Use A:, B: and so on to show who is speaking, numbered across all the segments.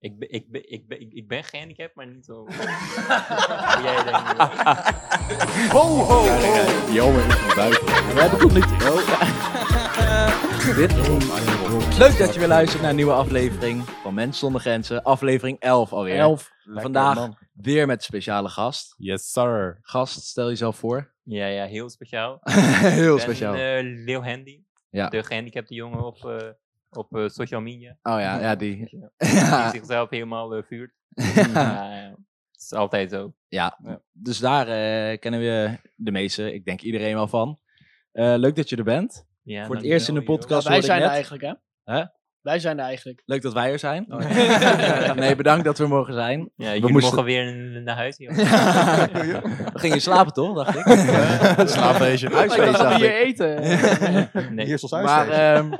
A: Ik, ben- ik, ben- ik, ben- ik, ik ben gehandicapt, maar niet zo. hoe jij denkt.
B: Jelmer is van buiten. We hebben toch niet... Dit Leuk dat je weer luistert naar een nieuwe aflevering van Mens Zonder Grenzen. Aflevering 11 alweer.
C: 11.
B: Vandaag weer met een speciale gast.
C: Yes, sir.
B: Gast, stel jezelf voor.
A: Ja, ja, heel speciaal.
B: Heel
A: Ik ben,
B: speciaal.
A: eh, Lil Handy.
B: Ja.
A: De gehandicapte jongen op, eh, op eh, social media.
B: Oh ja, ja, die.
A: Die
B: Ja.
A: zichzelf helemaal eh, vuurt. Ja, ja. Het is altijd zo.
B: Dus daar eh, kennen we de meeste, ik denk iedereen wel van. Eh, leuk dat je er bent.
A: Ja,
B: Voor het
A: dankjewel,
B: eerst in de
A: joh.
B: podcast.
C: wij
B: hoorde ik
C: zijn er
B: net.
C: eigenlijk, hè?
B: Hè?
C: Wij zijn er eigenlijk.
B: Leuk dat wij er zijn.
A: Oh, ja.
B: nee, bedankt dat we er mogen zijn.
A: Ja, jullie
B: moesten-
A: mogen weer n- naar huis. joh.
B: we gingen slapen toch, dacht ik?
D: Slaapfeestje.
B: Huisfeest,
C: ik kan
B: dacht
C: hier
B: ik.
C: eten.
A: Nee.
D: Hier is ons
B: Maar
D: huisfeest.
B: ehm,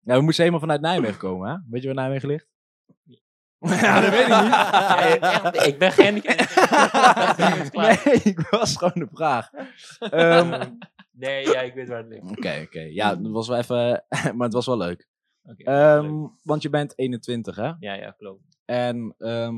B: ja, we moesten helemaal vanuit Nijmegen komen, hè? Weet je waar Nijmegen ligt?
D: ja, dat weet ik niet.
A: Ja, echt, ik ben gehandicapt. Dat is niet klaar.
B: Nee, ik was gewoon de vraag. Ehm, Oké,
A: Nee, ja, ik weet waar het ligt.
B: oké. Ja, dat was wel even... maar het was wel leuk.
A: Oké,
B: Ehm,
A: leuk.
B: want je bent 21, hè?
A: Ja, ja, klopt.
B: En ehm,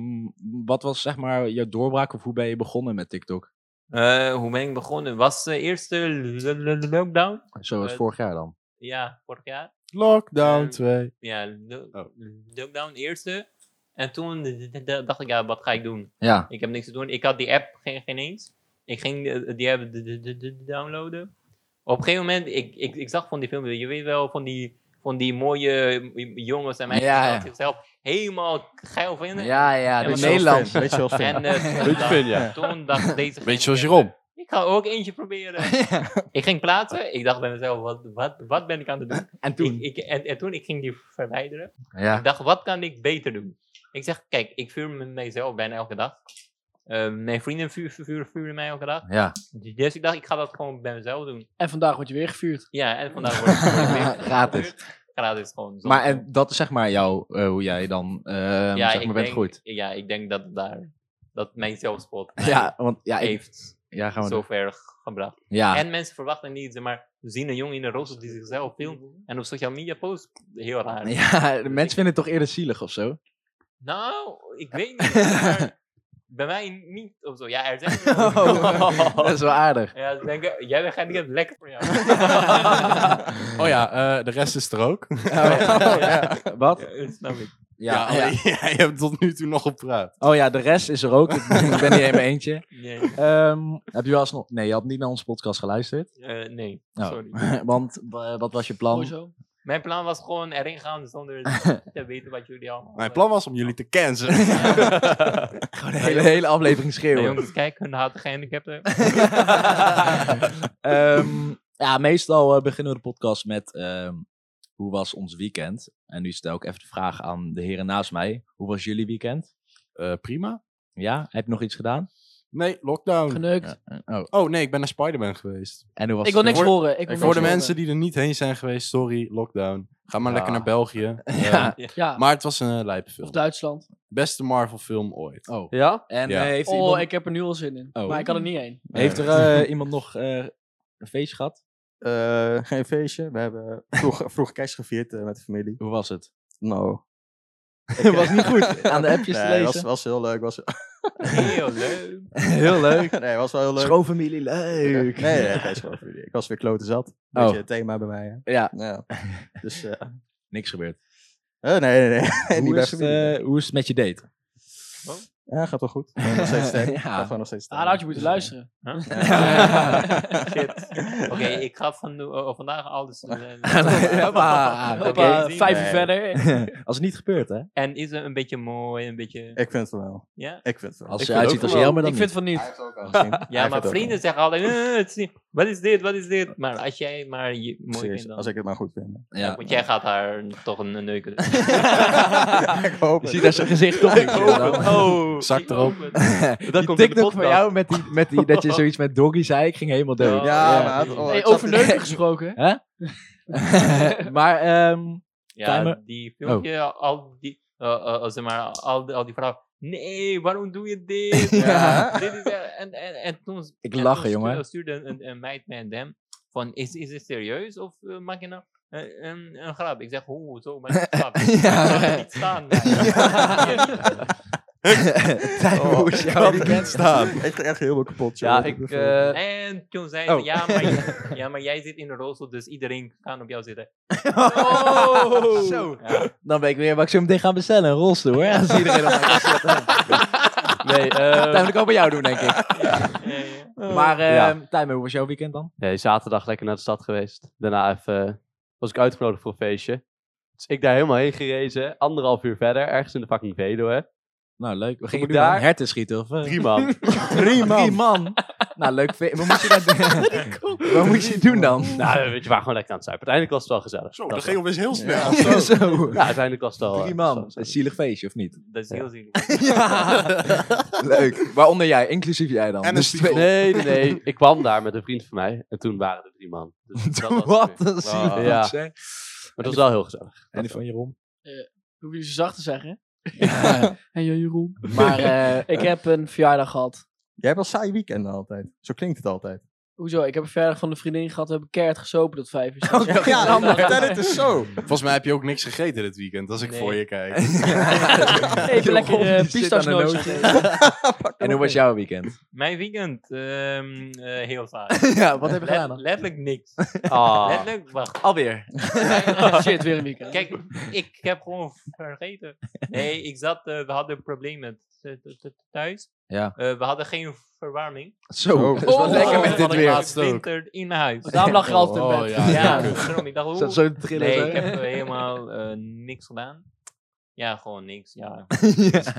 B: wat was zeg maar jouw doorbraak of hoe ben je begonnen met TikTok?
A: Eh, hoe ben ik begonnen? Was de eerste l- l- lockdown?
B: Zoals
A: Eh,
B: vorig jaar dan.
A: Ja, vorig jaar.
B: eh,
D: Lockdown
A: Ehm,
D: 2.
A: Ja, lo-
D: Oh.
A: lockdown eerste. En toen d- d- d- dacht ik, ja, wat ga ik doen?
B: Ja.
A: Ik heb niks te doen. Ik had die app geen, geen eens. Ik ging eh, die app d- d- d- d- downloaden. Op een gegeven moment, ik, ik, ik zag van die filmpjes, je weet wel, van die, van die mooie eh, jongens en meisjes
B: Ja,
A: die
B: ja.
A: dat zichzelf helemaal geil vinden.
B: Ja, ja,
A: En
B: de
A: wat-
B: Nederlands.
D: Weet je wel, Finn.
A: En eh, toen,
D: Beetje
A: dacht,
D: Finn, ja.
A: toen dacht deze
D: Beetje zoals
A: gek,
D: Jeroen.
A: Ik ga ook eentje proberen. Ik ging plaatsen. Ik dacht bij mezelf, wat, wat, wat ben ik aan het doen?
B: En Oh. toen?
A: Ik, ik, en, en toen ik ging die verwijderen.
B: Ja.
A: Ik dacht, wat kan ik beter doen? Ik zeg, kijk, ik vuur me- mijzelf bijna elke dag. Eh, mijn vrienden vuur, vuur, vuur- vuren mij elke dag.
B: Ja.
A: Dus ik dacht, ik ga dat gewoon bij mezelf doen.
C: En vandaag word je weer gevuurd.
A: Ja, en vandaag wordt het weer
B: Gratis.
A: gebeurd. Gratis gewoon. zonder-
B: Maar en dat is zeg maar jouw, eh, hoe jij dan ehm, zeg maar bent
A: denk,
B: goed.
A: Ja, ik denk dat daar, dat mijn zelfspot mij
B: Ja, want ja, ik,
A: heeft
B: ja, gaan we doen.
A: zover gebracht.
B: Ja,
A: En mensen verwachten niet, zeg maar ze zien een jongen in een rolstoel die zichzelf filmt en op social media post. Heel raar.
B: ja, de mensen vinden het toch eerder zielig of zo?
A: Nou, ik weet niet. maar bij mij niet of zo. Ja, er
B: Oh.
A: zijn wel- Oh.
B: dat is wel aardig.
A: Ja, ze denken, jij bent het lekker voor jou.
D: Oh ja, eh, de rest is er ook. Ja,
B: Oh, Wat?
A: Oh Ja, oh dat snap ik.
B: Ja, oh ja.
D: alleen, jij hebt tot nu toe nog gepraat.
B: Oh ja, de rest is er ook. Ik ben ik ben hier in mijn eentje.
A: Nee,
B: Ehm, heb je wel eens nog... Nee, je had niet naar onze podcast geluisterd.
A: eh, nee
B: Oh.
A: sorry.
B: Want eh, wat was je
C: Mooi
B: plan?
C: zo.
A: Mijn plan was gewoon erin gaan zonder te weten wat jullie allemaal...
D: Mijn plan was om jullie te cancelen.
B: Gewoon de hele, hele aflevering
A: Nee,
B: schreeuwen.
A: jongens, kijk, hun haat gehandicapten.
B: Ehm, ja, meestal eh, beginnen we de podcast met ehm, hoe was ons weekend? En nu stel ik even de vraag aan de heren naast mij. Hoe was jullie weekend?
D: Eh, prima.
B: Ja, heb je nog iets gedaan?
D: Nee, lockdown.
C: Geneukt.
B: Oh,
D: Oh nee, ik ben naar Spider-Man geweest.
B: en hoe was
C: Ik wil niks
D: Voor-
C: horen. Ik wil
D: Voor de
C: niks
D: mensen die er niet heen zijn geweest, sorry, lockdown. Ga maar
B: Ja.
D: lekker naar België. Eh,
B: Ja.
C: horen. Ja,
D: Maar het was een eh, lijpe
C: of
D: film.
C: Duitsland.
D: Beste Marvel film ooit.
B: Oh.
C: Ja?
B: En
D: Ja.
B: eh, heeft,
C: Oh,
B: iemand,
C: ik heb er nu al zin in.
B: Oh.
C: Maar ik kan er niet heen.
B: heeft er eh, iemand nog eh, een feestje gehad?
E: Eh, geen feestje. We hebben vroeg, vroeg kerst gevierd eh, met de familie.
B: Hoe was het?
E: Nou.
B: Het was niet goed aan de appjes te
E: Nee,
B: lezen.
E: was, was heel leuk. Was,
A: Heel leuk.
B: Heel leuk.
E: nee, was wel heel leuk.
B: Schoonfamilie, leuk.
E: Nee, nee, geen schoonfamilie. Ik was weer kloten zat. Beetje
B: Oh.
E: het thema bij mij. hè.
B: Ja,
E: Ja. Dus, eh
B: niks gebeurd.
E: eh, nee, nee, nee. niet
B: hoe,
E: bij
B: is het,
E: familie.
B: eh, hoe is het met je date?
E: Ja, gaat wel goed. Ik ben nog steeds sterk.
B: Ja.
E: Gaat gewoon nog steeds
C: Ah, dan had je moeten luisteren.
A: Shit. Oké, ik ga van, eh, vandaag alles... eh,
B: Hoppa.
A: Oké,
C: Oké,
A: zien.
C: vijf uur
E: Nee.
C: verder.
B: Als het niet gebeurt, hè?
A: En is er een beetje mooi, een beetje...
E: Ik vind het wel.
A: Ja,
E: Ik vind het wel.
B: Als
D: Ik
B: je
D: vind
B: uitziet
D: ook
B: als
D: wel-
B: jammer, dan
C: ik vind van niet.
E: heeft ook al gezien. Hij
A: ja
E: heeft
A: maar
E: het ook
A: vrienden zeggen altijd, "Eh, het is niet- wat is dit, wat is dit? Maar als jij maar je,
E: al.
A: mooi
E: Serieus,
A: vindt dan...
E: als ik het maar goed vind.
B: niet. Ja.
A: Want jij gaat haar toch een een neuken.
E: ik hoop
B: Je
E: het.
B: ziet daar zijn gezicht toch niet.
A: oh,
D: Zak
A: ik
D: erop.
A: hoop het.
B: Dat
D: komt in de
B: TikTok van
D: podcast.
B: jou met die, met die, dat je zoiets met doggy zei, ik ging helemaal dood.
A: Oh,
E: Ja,
A: ja.
E: maat. Oh,
C: Hey,
E: ik zat
C: over
E: in-
C: neuken gesproken.
B: maar, ehm,
A: Ja,
B: Timer.
A: die filmpje, al die... eh, eh, eh, zeg maar, al, die- al die vrouwen... Nee, waarom doe je dit?
E: Ja.
A: dit is, eh, en, en, en toen...
B: Ik
A: en
B: lach,
A: toen
B: jongen.
A: stu- stuurde een, een meid mij een DM van, is, is dit serieus of eh, maak je nou... eh, een, een grap. Ik zeg, hoe, zo, maar niet grap.
B: Ja.
A: Laat me niet staan.
B: Tijboes, jou Oh. die kent staan.
E: Oh, Echt, echt heel veel kapot,
B: Ja,
E: joh.
B: ik... eh,
A: En toen zei ze,
B: Oh.
A: ja, maar, je- ja, maar jij zit in een rolstoel, dus iedereen kan op jou zitten.
B: Zo.
A: Ja.
B: Oh. Dan weet ik weer wat ik zo meteen ga bestellen. Een rolstoel, hoor. Als iedereen op mij gaat zitten. Nee, eh...
F: Dat moet ik ook bij jou doen, denk ik.
A: Ja, ja.
B: Maar eh
F: Ja.
B: Tijmen, hoe was jouw weekend dan?
F: Nee, zaterdag lekker naar de stad geweest. Daarna even, eh, was ik uitgenodigd voor een feestje. Dus ik daar helemaal heen gerezen. Anderhalf uur verder, ergens in de fucking Vedo, hè.
B: Nou, leuk. We
F: gingen
B: gingen
F: nu aan
B: daar herten schieten, of? eh?
F: Drie man.
B: Drie man. nou, leuk. fe- Wat moet je, dan doen? wat moet je doen dan?
F: nou, weet je, we waren gewoon lekker aan het zuipen. Uiteindelijk was het wel gezellig.
D: Zo,
F: Dat
D: dat
F: wel.
D: ging opeens heel snel.
B: Ja, zo.
F: Ja, uiteindelijk was het wel... eh,
B: Drie man.
F: gezellig.
B: Een zielig feestje, of niet?
A: Dat is
F: Ja.
A: heel zielig.
B: Leuk. Waaronder jij, inclusief jij dan.
D: En een
B: Dus
D: spiegel.
F: Nee, nee, nee. Ik kwam daar met een vriend van mij. En toen waren er drie man. Dus dat was
B: Wat?
F: het weer.
B: Dat is zielig.
F: Ja.
B: iets, hè?
F: Maar het was wel heel gezellig.
B: En die van Jeroen?
C: Hoef je zo zacht te zeggen. En joh, Jeroen. Maar
B: Maar,
C: eh, ik heb een verjaardag gehad.
E: Jij hebt wel saai weekenden altijd. Zo klinkt het altijd.
C: Hoezo? Ik heb een verjaardag van een vriendin gehad. We hebben keihard gesopen tot vijf uur.
E: Ja,
C: dan
E: dan vertel het eens zo.
D: Volgens mij heb je ook niks gegeten dit weekend, als ik
C: Nee.
D: voor je kijk.
C: Even lekker
B: Jeroen,
C: eh
B: die zit aan de
C: pistachenootjes.
B: nootjes.
C: gegeten.
B: En hoe was jouw weekend?
A: Mijn weekend, ehm, eh, heel saai.
B: ja, wat heb
A: Le- letterlijk niks.
F: Ah,
A: Letterlijk, wacht.
F: alweer.
C: Shit, weer een weekend.
A: Kijk, ik heb gewoon vergeten. Nee, ik zat, eh, we hadden problemen eh, th- th- th- thuis.
B: Ja.
A: Eh, we hadden geen verwarming.
B: Zo,
E: Oh.
B: dat is wel
A: Oh.
B: lekker met
A: Oh.
B: dit
A: Het
B: weer.
A: was winter in huis.
C: Daarom lag je altijd in
D: Oh,
C: bed.
D: ja.
A: Ja, daarom. Ik dacht,
B: Is
A: hoe?
B: dat zo te trillen?
A: Nee,
B: zo?
A: ik heb eh, helemaal eh, niks gedaan. Ja, gewoon niks. Ja.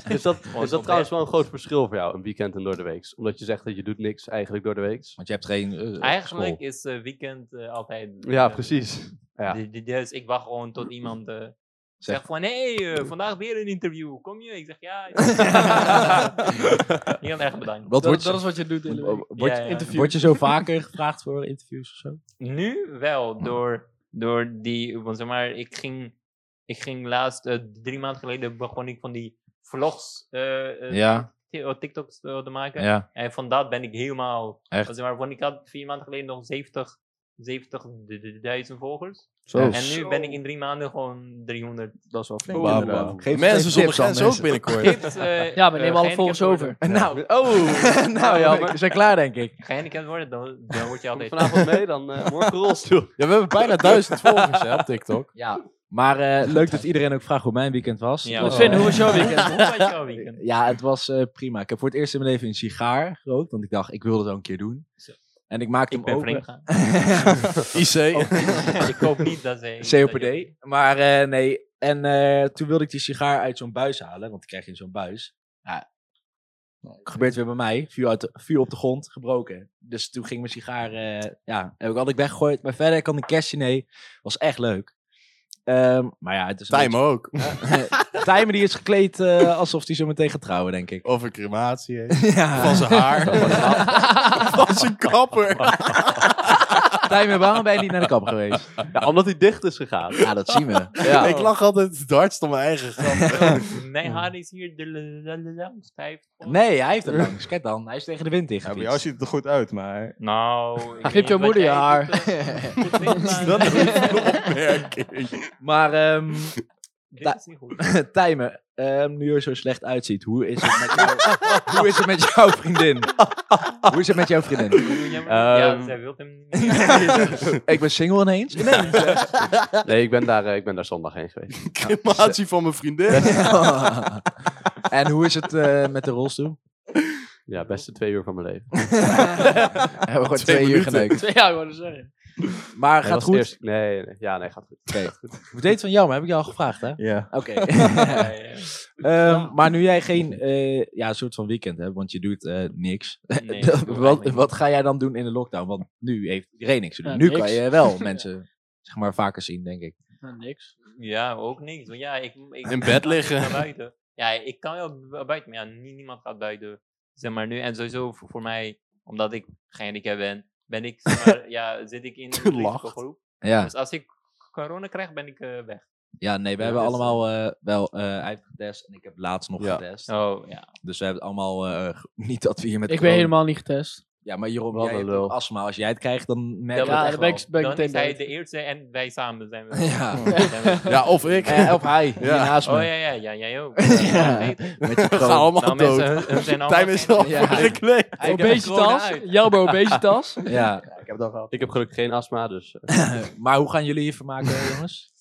F: Is dat,
A: Gewoon tot
F: is dat trouwens wel een groot verschil voor jou, een weekend en door de week? Omdat je zegt dat je doet niks eigenlijk door de week.
B: Want je hebt geen eh,
A: Eigenlijk
B: school.
A: is eh, weekend eh, altijd.
F: Ja,
A: eh,
F: precies. Ja.
A: d- d- Dus ik wacht gewoon tot iemand eh,
B: Zeg.
A: zegt van, hé, hey, eh, vandaag weer een interview. Kom je? Ik zeg, ja. Heel erg bedankt.
B: Wat
C: Dat,
B: wordt
C: dat
B: je,
C: is wat je doet in de week.
B: wordt,
A: Ja, ja.
B: interview- word je zo vaker gevraagd voor interviews of zo?
A: Nu wel,
B: Hm.
A: door, door die, want zeg maar, ik ging, ik ging laatst, eh, drie maanden geleden begon ik van die vlogs, eh, eh,
B: Ja,
A: ti- oh, TikToks eh, te maken.
B: ja.
A: En van dat ben ik helemaal,
B: Echt?
A: want zeg maar, want ik had vier maanden geleden nog 70, 70.000 volgers.
E: Zo.
A: En nu ben ik in drie maanden gewoon 300.
E: Dat is wel flink.
D: Wauw,
E: inderdaad.
D: wauw.
B: Geef- geef
D: Mensen zonder
B: tips aan
D: grenzen ook
B: mensen.
D: binnenkort.
A: Tips, eh,
C: Ja, maar neem
A: eh,
C: alle volgers
A: gehandicapt worden.
C: over.
B: Nou, oh, nou ja, we zijn klaar denk ik.
A: Gehandicapt worden, dan, dan word je
F: Kom
A: altijd...
F: vanavond mee, dan eh morgen rolstoel.
D: Ja, we hebben bijna duizend volgers hè, op TikTok.
B: Ja. Maar eh, leuk dat iedereen ook vraagt hoe mijn weekend was.
A: Ja.
B: Het was,
C: Finn,
B: eh,
C: hoe was jouw
A: Hoe
C: weekend?
A: was jouw weekend?
B: Ja, het was eh, prima. Ik heb voor het eerst in mijn leven een sigaar gerookt, want ik dacht, ik wil dat wel een keer doen.
A: Zo.
B: En ik maakte
A: Ik
B: hem
A: ben
B: open.
A: vreemd gegaan.
D: IC.
A: ik hoop niet dat ze...
B: COPD. Maar eh, nee, en eh, toen wilde ik die sigaar uit zo'n buis halen, want die krijg je in zo'n buis. Ja, gebeurt weer bij mij. Vuur, uit de- vuur op de grond, gebroken. Dus toen ging mijn sigaar, eh, ja, heb ik altijd weggegooid. Maar verder kan ik kerstje nee. Was echt leuk. Ehm, maar ja, het is een
D: Time ook.
B: beetje- Tijmen die is gekleed eh, alsof hij zo meteen gaat trouwen, denk ik.
D: Of een crematie. hè.
B: Ja.
D: Van zijn haar. Van zijn kapper.
B: Tijmen, waarom ben je niet naar de kap geweest?
F: Ja, omdat hij dicht is gegaan.
B: Ja, dat zien we.
F: Ja.
D: Ik lach altijd het hardst om mijn eigen grap.
A: Mijn haar is hier de l- l- l- lang stijf.
B: Nee, hij heeft hem langs. Kijk dan, hij is tegen de wind in.
E: Ja, bij jou ziet het er goed uit, maar...
A: Nou... ik
C: Knip
A: weet
C: je
A: niet
C: moeder
A: wat jij
C: je haar.
A: doet, eh, dit weet
D: Dat
A: maar-
D: is een opmerking.
B: Maar ehm
A: Dit is niet goed.
B: Tijmen, ehm, nu je er zo slecht uitziet, hoe is het met, jou, hoe is het met jouw vriendin? Hoe is het met jouw vriendin?
A: Ja,
F: Ehm.
A: zij wil hem niet. meer.
B: Ik ben single ineens.
F: Nee, ik ben, daar, eh, ik ben daar zondag heen geweest.
D: Crematie van mijn vriendin.
B: en hoe is het eh, met de rolstoel?
F: Ja, beste twee uur van mijn leven.
B: We hebben gewoon
D: Twee
B: twee, uur
D: minuten.
B: geneukt.
C: Ja, ik wou het zeggen.
B: Maar
F: Nee,
B: gaat
F: was
B: goed.
F: eerst- nee, nee, ja, nee, gaat goed.
B: Hoe deed het van jou? Maar heb ik jou al gevraagd, hè?
E: Ja.
B: Oké.
A: Ja, ja,
B: Ehm, maar nu jij geen eh, ja, soort van weekend hebt, want je doet eh, niks.
A: ja. Nee, ik doe
B: wat,
A: eigenlijk
B: wat ga jij dan doen in de lockdown? Want nu heeft iedereen niks te doen.
C: Ja,
B: nu
C: niks.
B: kan je wel mensen zeg maar, vaker zien, denk ik.
C: Nou, niks.
A: niet. Ja, ook niks. Want ja, ik, ik
D: In bed
A: kan niet
D: liggen.
A: naar buiten. Ja, ik kan wel bu- buiten, maar ja, nie- niemand gaat buiten. Zeg maar nu, en sowieso voor, voor mij, omdat ik gehandicapt ben, ben ik, zeg maar, ja, zit ik in een
D: Lacht.
A: risicogroep.
B: Ja,
A: Dus als ik corona krijg, ben ik eh, weg.
B: ja nee, we
A: Ja,
B: hebben
A: dus-
B: allemaal eh, wel. eh hij heeft getest en ik heb laatst nog
D: Ja.
B: getest.
A: Oh, ja.
B: Dus we hebben het allemaal. eh, ge- niet dat we hier met.
C: Ik ben
B: corona-
C: helemaal niet getest.
B: Ja, maar Jeroen,
F: Wat
B: jij
F: een
B: hebt
F: lul.
B: astma. Als jij het krijgt, dan merk je
C: Ja,
B: dat
C: maar
B: echt
C: dan ben
B: wel.
C: ik, ben ik
A: Dan
C: meteen
A: is hij
C: dood.
A: de eerste en wij samen zijn we.
B: Ja.
A: Zijn we-
D: Ja, of ik.
B: Eh, of hij, hier naast
A: Oh
B: me.
A: ja, ja, ja, jij ook.
B: Ja.
A: Met je
D: We gaan
B: Gewoon-
D: allemaal
A: nou,
D: dood.
A: mensen, hun- hun zijn allemaal
D: Tijm is
A: geen-
D: al
B: Oh, Ja.
D: verkleed.
C: Obesitas. Jelbo obesitas.
B: Ja.
E: Ja, ik heb het al gehad.
F: Ik heb gelukkig geen astma, dus... eh,
B: Maar hoe gaan jullie je vermaken, jongens?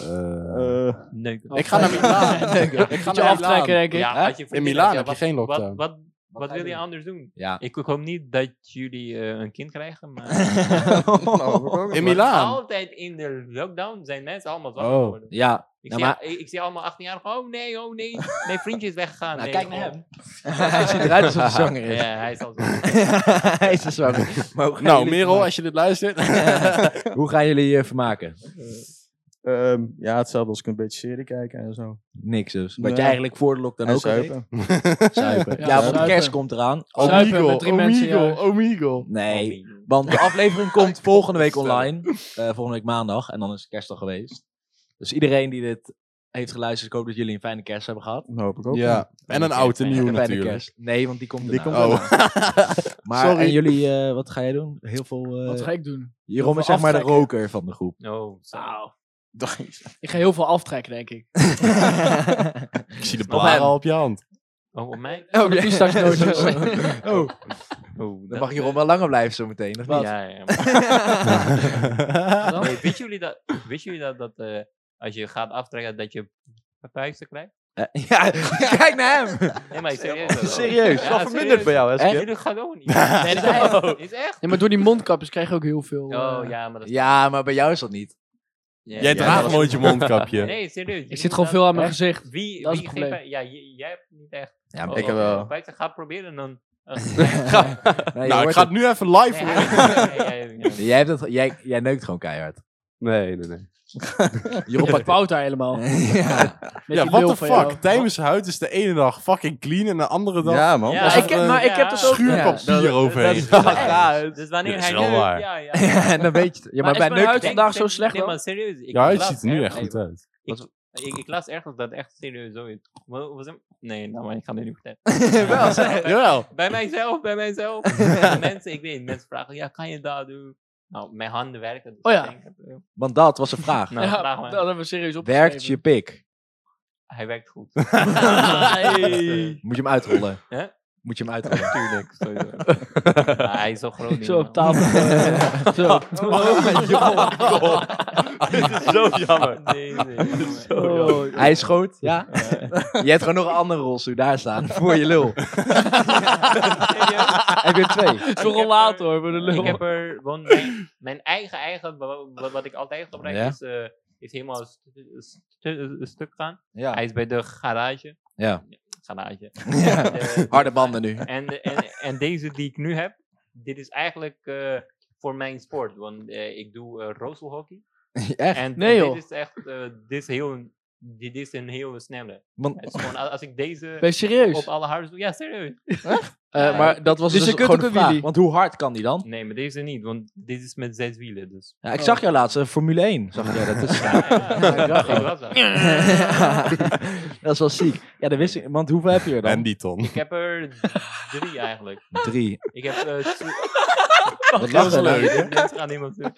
E: Eh,
A: Neuken.
D: Ik ga naar Milaan. Ik ga
C: Moet je
D: naar Milaan.
C: aftrekken, denk ik.
A: Ja,
D: Hè?
A: als je
D: In
A: verkeerd-
D: Milaan
A: ja,
D: heb je
A: wat-
D: geen
A: Wat,
D: lockdown.
A: wat, wat,
B: ga je
A: wil je
B: doen?
A: anders doen?
B: Ja.
A: Ik hoop niet dat jullie eh, een kind krijgen, maar
E: nou, ik ook
D: In
E: nog.
D: Milaan.
A: altijd in de lockdown zijn mensen allemaal zwanger
D: Oh.
A: geworden.
B: Ja.
A: Ik,
B: Ja,
A: zie,
B: maar-
A: ik, ik zie allemaal 18-jarigen, oh nee, oh nee, mijn vriendje is weggegaan.
B: Nou,
A: nee,
B: kijk naar
A: oh.
B: hem. hij ziet eruit alsof hij zanger is.
A: Ja, hij is al Eh, zo.
B: hij is een zanger. Maar hoe gaan
D: Nou,
B: jullie
D: Merel,
B: vermaken?
D: als je dit luistert.
B: Hoe gaan jullie je vermaken?
E: Ehm, ja, hetzelfde als ik een beetje serie kijken en zo.
B: Niks dus. Wat
E: Nee.
B: jij eigenlijk voor de lockdown
E: En
B: ook al deed.
E: zuipen.
B: Zuipen. Ja,
C: Ja,
B: want de
C: zuipen.
B: kerst komt eraan.
C: Zuipen met drie mensen in je
D: Oh,
C: huis.
D: Omegle.
B: Nee, want de aflevering komt volgende week online. Eh, volgende week maandag. En dan is kerst al geweest. Dus iedereen die dit heeft geluisterd, ik hoop dat jullie een fijne kerst hebben gehad.
E: Dat hoop ik ook.
D: Ja, en een oud en nieuw
B: Een fijne
D: natuurlijk.
B: kerst. Nee, want die komt
E: Die
B: erna.
E: komt
D: Oh,
B: Maar
D: Sorry.
B: en jullie, eh, wat ga jij doen? Heel veel... eh,
C: Wat ga ik doen?
B: Jeroen is zeg maar de roker van de groep.
A: Oh, zo.
C: Ik ga heel veel aftrekken, denk ik.
D: ik zie de
B: Snap
D: blaren
B: hem.
D: al op je hand.
A: Oh, op mij?
B: Oh,
C: Die straks nootjes.
B: oh,
A: Oh,
B: dan mag Jeroen wel langer blijven zometeen. of niet?
A: Ja, ja. maar-
C: Dan?
A: Nee, wisten jullie dat, wisten jullie dat, dat eh, als je gaat aftrekken, dat je vuisten krijgt?
B: Eh, ja, kijk naar hem.
A: Nee, maar serieus. dat-
F: Serieus,
A: Ja,
F: wel verminderd bij jou, hè,
A: Serieus,
F: Skip?
A: jullie gaan ook niet. Nee, dat is echt. Is echt.
C: Ja, maar door die mondkapjes krijg je ook heel veel.
A: Oh,
C: eh,
A: ja, maar dat is...
B: Ja, maar bij jou is dat niet.
D: Jij draagt nooit je mondkapje.
A: Nee, serieus.
C: Ik zit gewoon veel aan mijn gezicht.
A: Wie,
C: Dat is
A: wie
C: het
A: geeft...
C: probleem.
A: mij- Ja, j- jij hebt niet echt...
B: Ja,
A: Oh,
E: ik
A: oh,
E: heb wel.
A: Vuisten, ga het proberen en dan...
B: nee, je
D: Nou, ik
B: hoort
D: ga het nu even live
A: Nee,
D: horen.
A: hij- nee, jij-
B: het. Jij, hebt dat, jij, jij neukt gewoon keihard.
F: Nee, nee, nee.
C: Je pakt fout daar helemaal. Met
B: ja.
D: Ja,
C: die
D: what
C: bril
D: the
C: van jou.
D: fuck? Tijmers huid is de ene dag fucking clean en de andere dag
E: Ja, man.
A: Ja,
D: alsof
C: ik heb-
D: er
C: maar
D: een
C: ik heb dat ook- eh,
D: schuurpapier
A: Ja. Dat
D: overheen.
A: is wel echt. Dus wanneer
D: Dit is
A: hij
D: wel
A: neukt,
D: waar.
A: Ja, ja.
B: En dan weet je het. Ja, maar,
C: is
B: bij
C: mijn
B: neuken...
C: huid- vandaag zo
A: denk-
C: slecht
A: Nee,
C: dan?
A: maar serieus. Ik
D: Je huid
A: las
D: ziet er nu echt
A: nee,
D: goed uit.
A: Ik, ik las ergens dat het echt serieus zo is. Wa- was hem- Nee, nou, maar ik ga dit niet vertellen.
B: Wel,
A: bij,
D: Jawel.
A: bij mijzelf, bij mijzelf. En mensen, ik weet niet, mensen vragen, ja, kan je dat doen? Nou, mijn handen werken. dus
C: Oh ja.
A: ik denk, eh,
B: Want dat was een vraag.
A: Nou,
C: ja,
A: vraag
C: dat
A: maar.
C: hebben we serieus op.
B: Werkt je pik?
A: Hij werkt goed.
B: Moet je hem uitrollen?
A: Hè?
B: Moet je hem uitrollen?
A: Tuurlijk, sowieso. Maar hij is zo groot. niet
C: Zo op
A: normaal.
C: tafel. eh, Zo. Oh,
F: Zo jammer.
A: Nee, nee, nee.
C: Oh,
B: Hij schoot, ja. Je hebt gewoon nog een andere rolstoel daar staan. Voor je lul. Heb je er twee?
C: Zo'n rollator hoor, voor de lul.
A: Ik heb er gewoon mijn, mijn eigen, eigen wa- wa- wat ik altijd gebruik,
B: Ja?
A: is, eh, is helemaal st- st- st- stuk gaan. Hij
B: Ja.
A: is bij de garage.
B: Ja.
A: Garage.
B: Ja.
A: Eh,
B: Harde banden nu.
A: en, en, en deze die ik nu heb, dit is eigenlijk eh, voor mijn sport. Want eh, ik doe eh rooselhockey.
B: Echt?
A: En
C: Nee, joh.
A: dit is echt, eh, dit, is heel, dit is een heel snelle.
B: Want-
A: Het is gewoon, a- als ik deze
C: Ben je serieus?
A: op alle harden doe, ja serieus.
B: Eh, maar dat was
C: Dus
B: dus,
C: je kunt
B: gewoon de
C: ook een
B: vraag.
C: wheelie.
B: Want hoe hard kan die dan?
A: Nee, maar deze niet, want dit is met zes wielen. Dus.
B: Ja, ik zag jou laatst, eh, Formule 1. Zag jij dat? Is,
A: Ja, ja,
B: dacht
A: ik
B: al.
A: was dat.
B: dat is wel ziek. Ja, dat wist ik. Want hoeveel heb je er dan?
D: En die ton.
A: Ik heb er drie eigenlijk.
B: Drie.
A: Ik heb eh twee-
B: Dat lacht wel leuk.
A: mensen gaan niemand doen.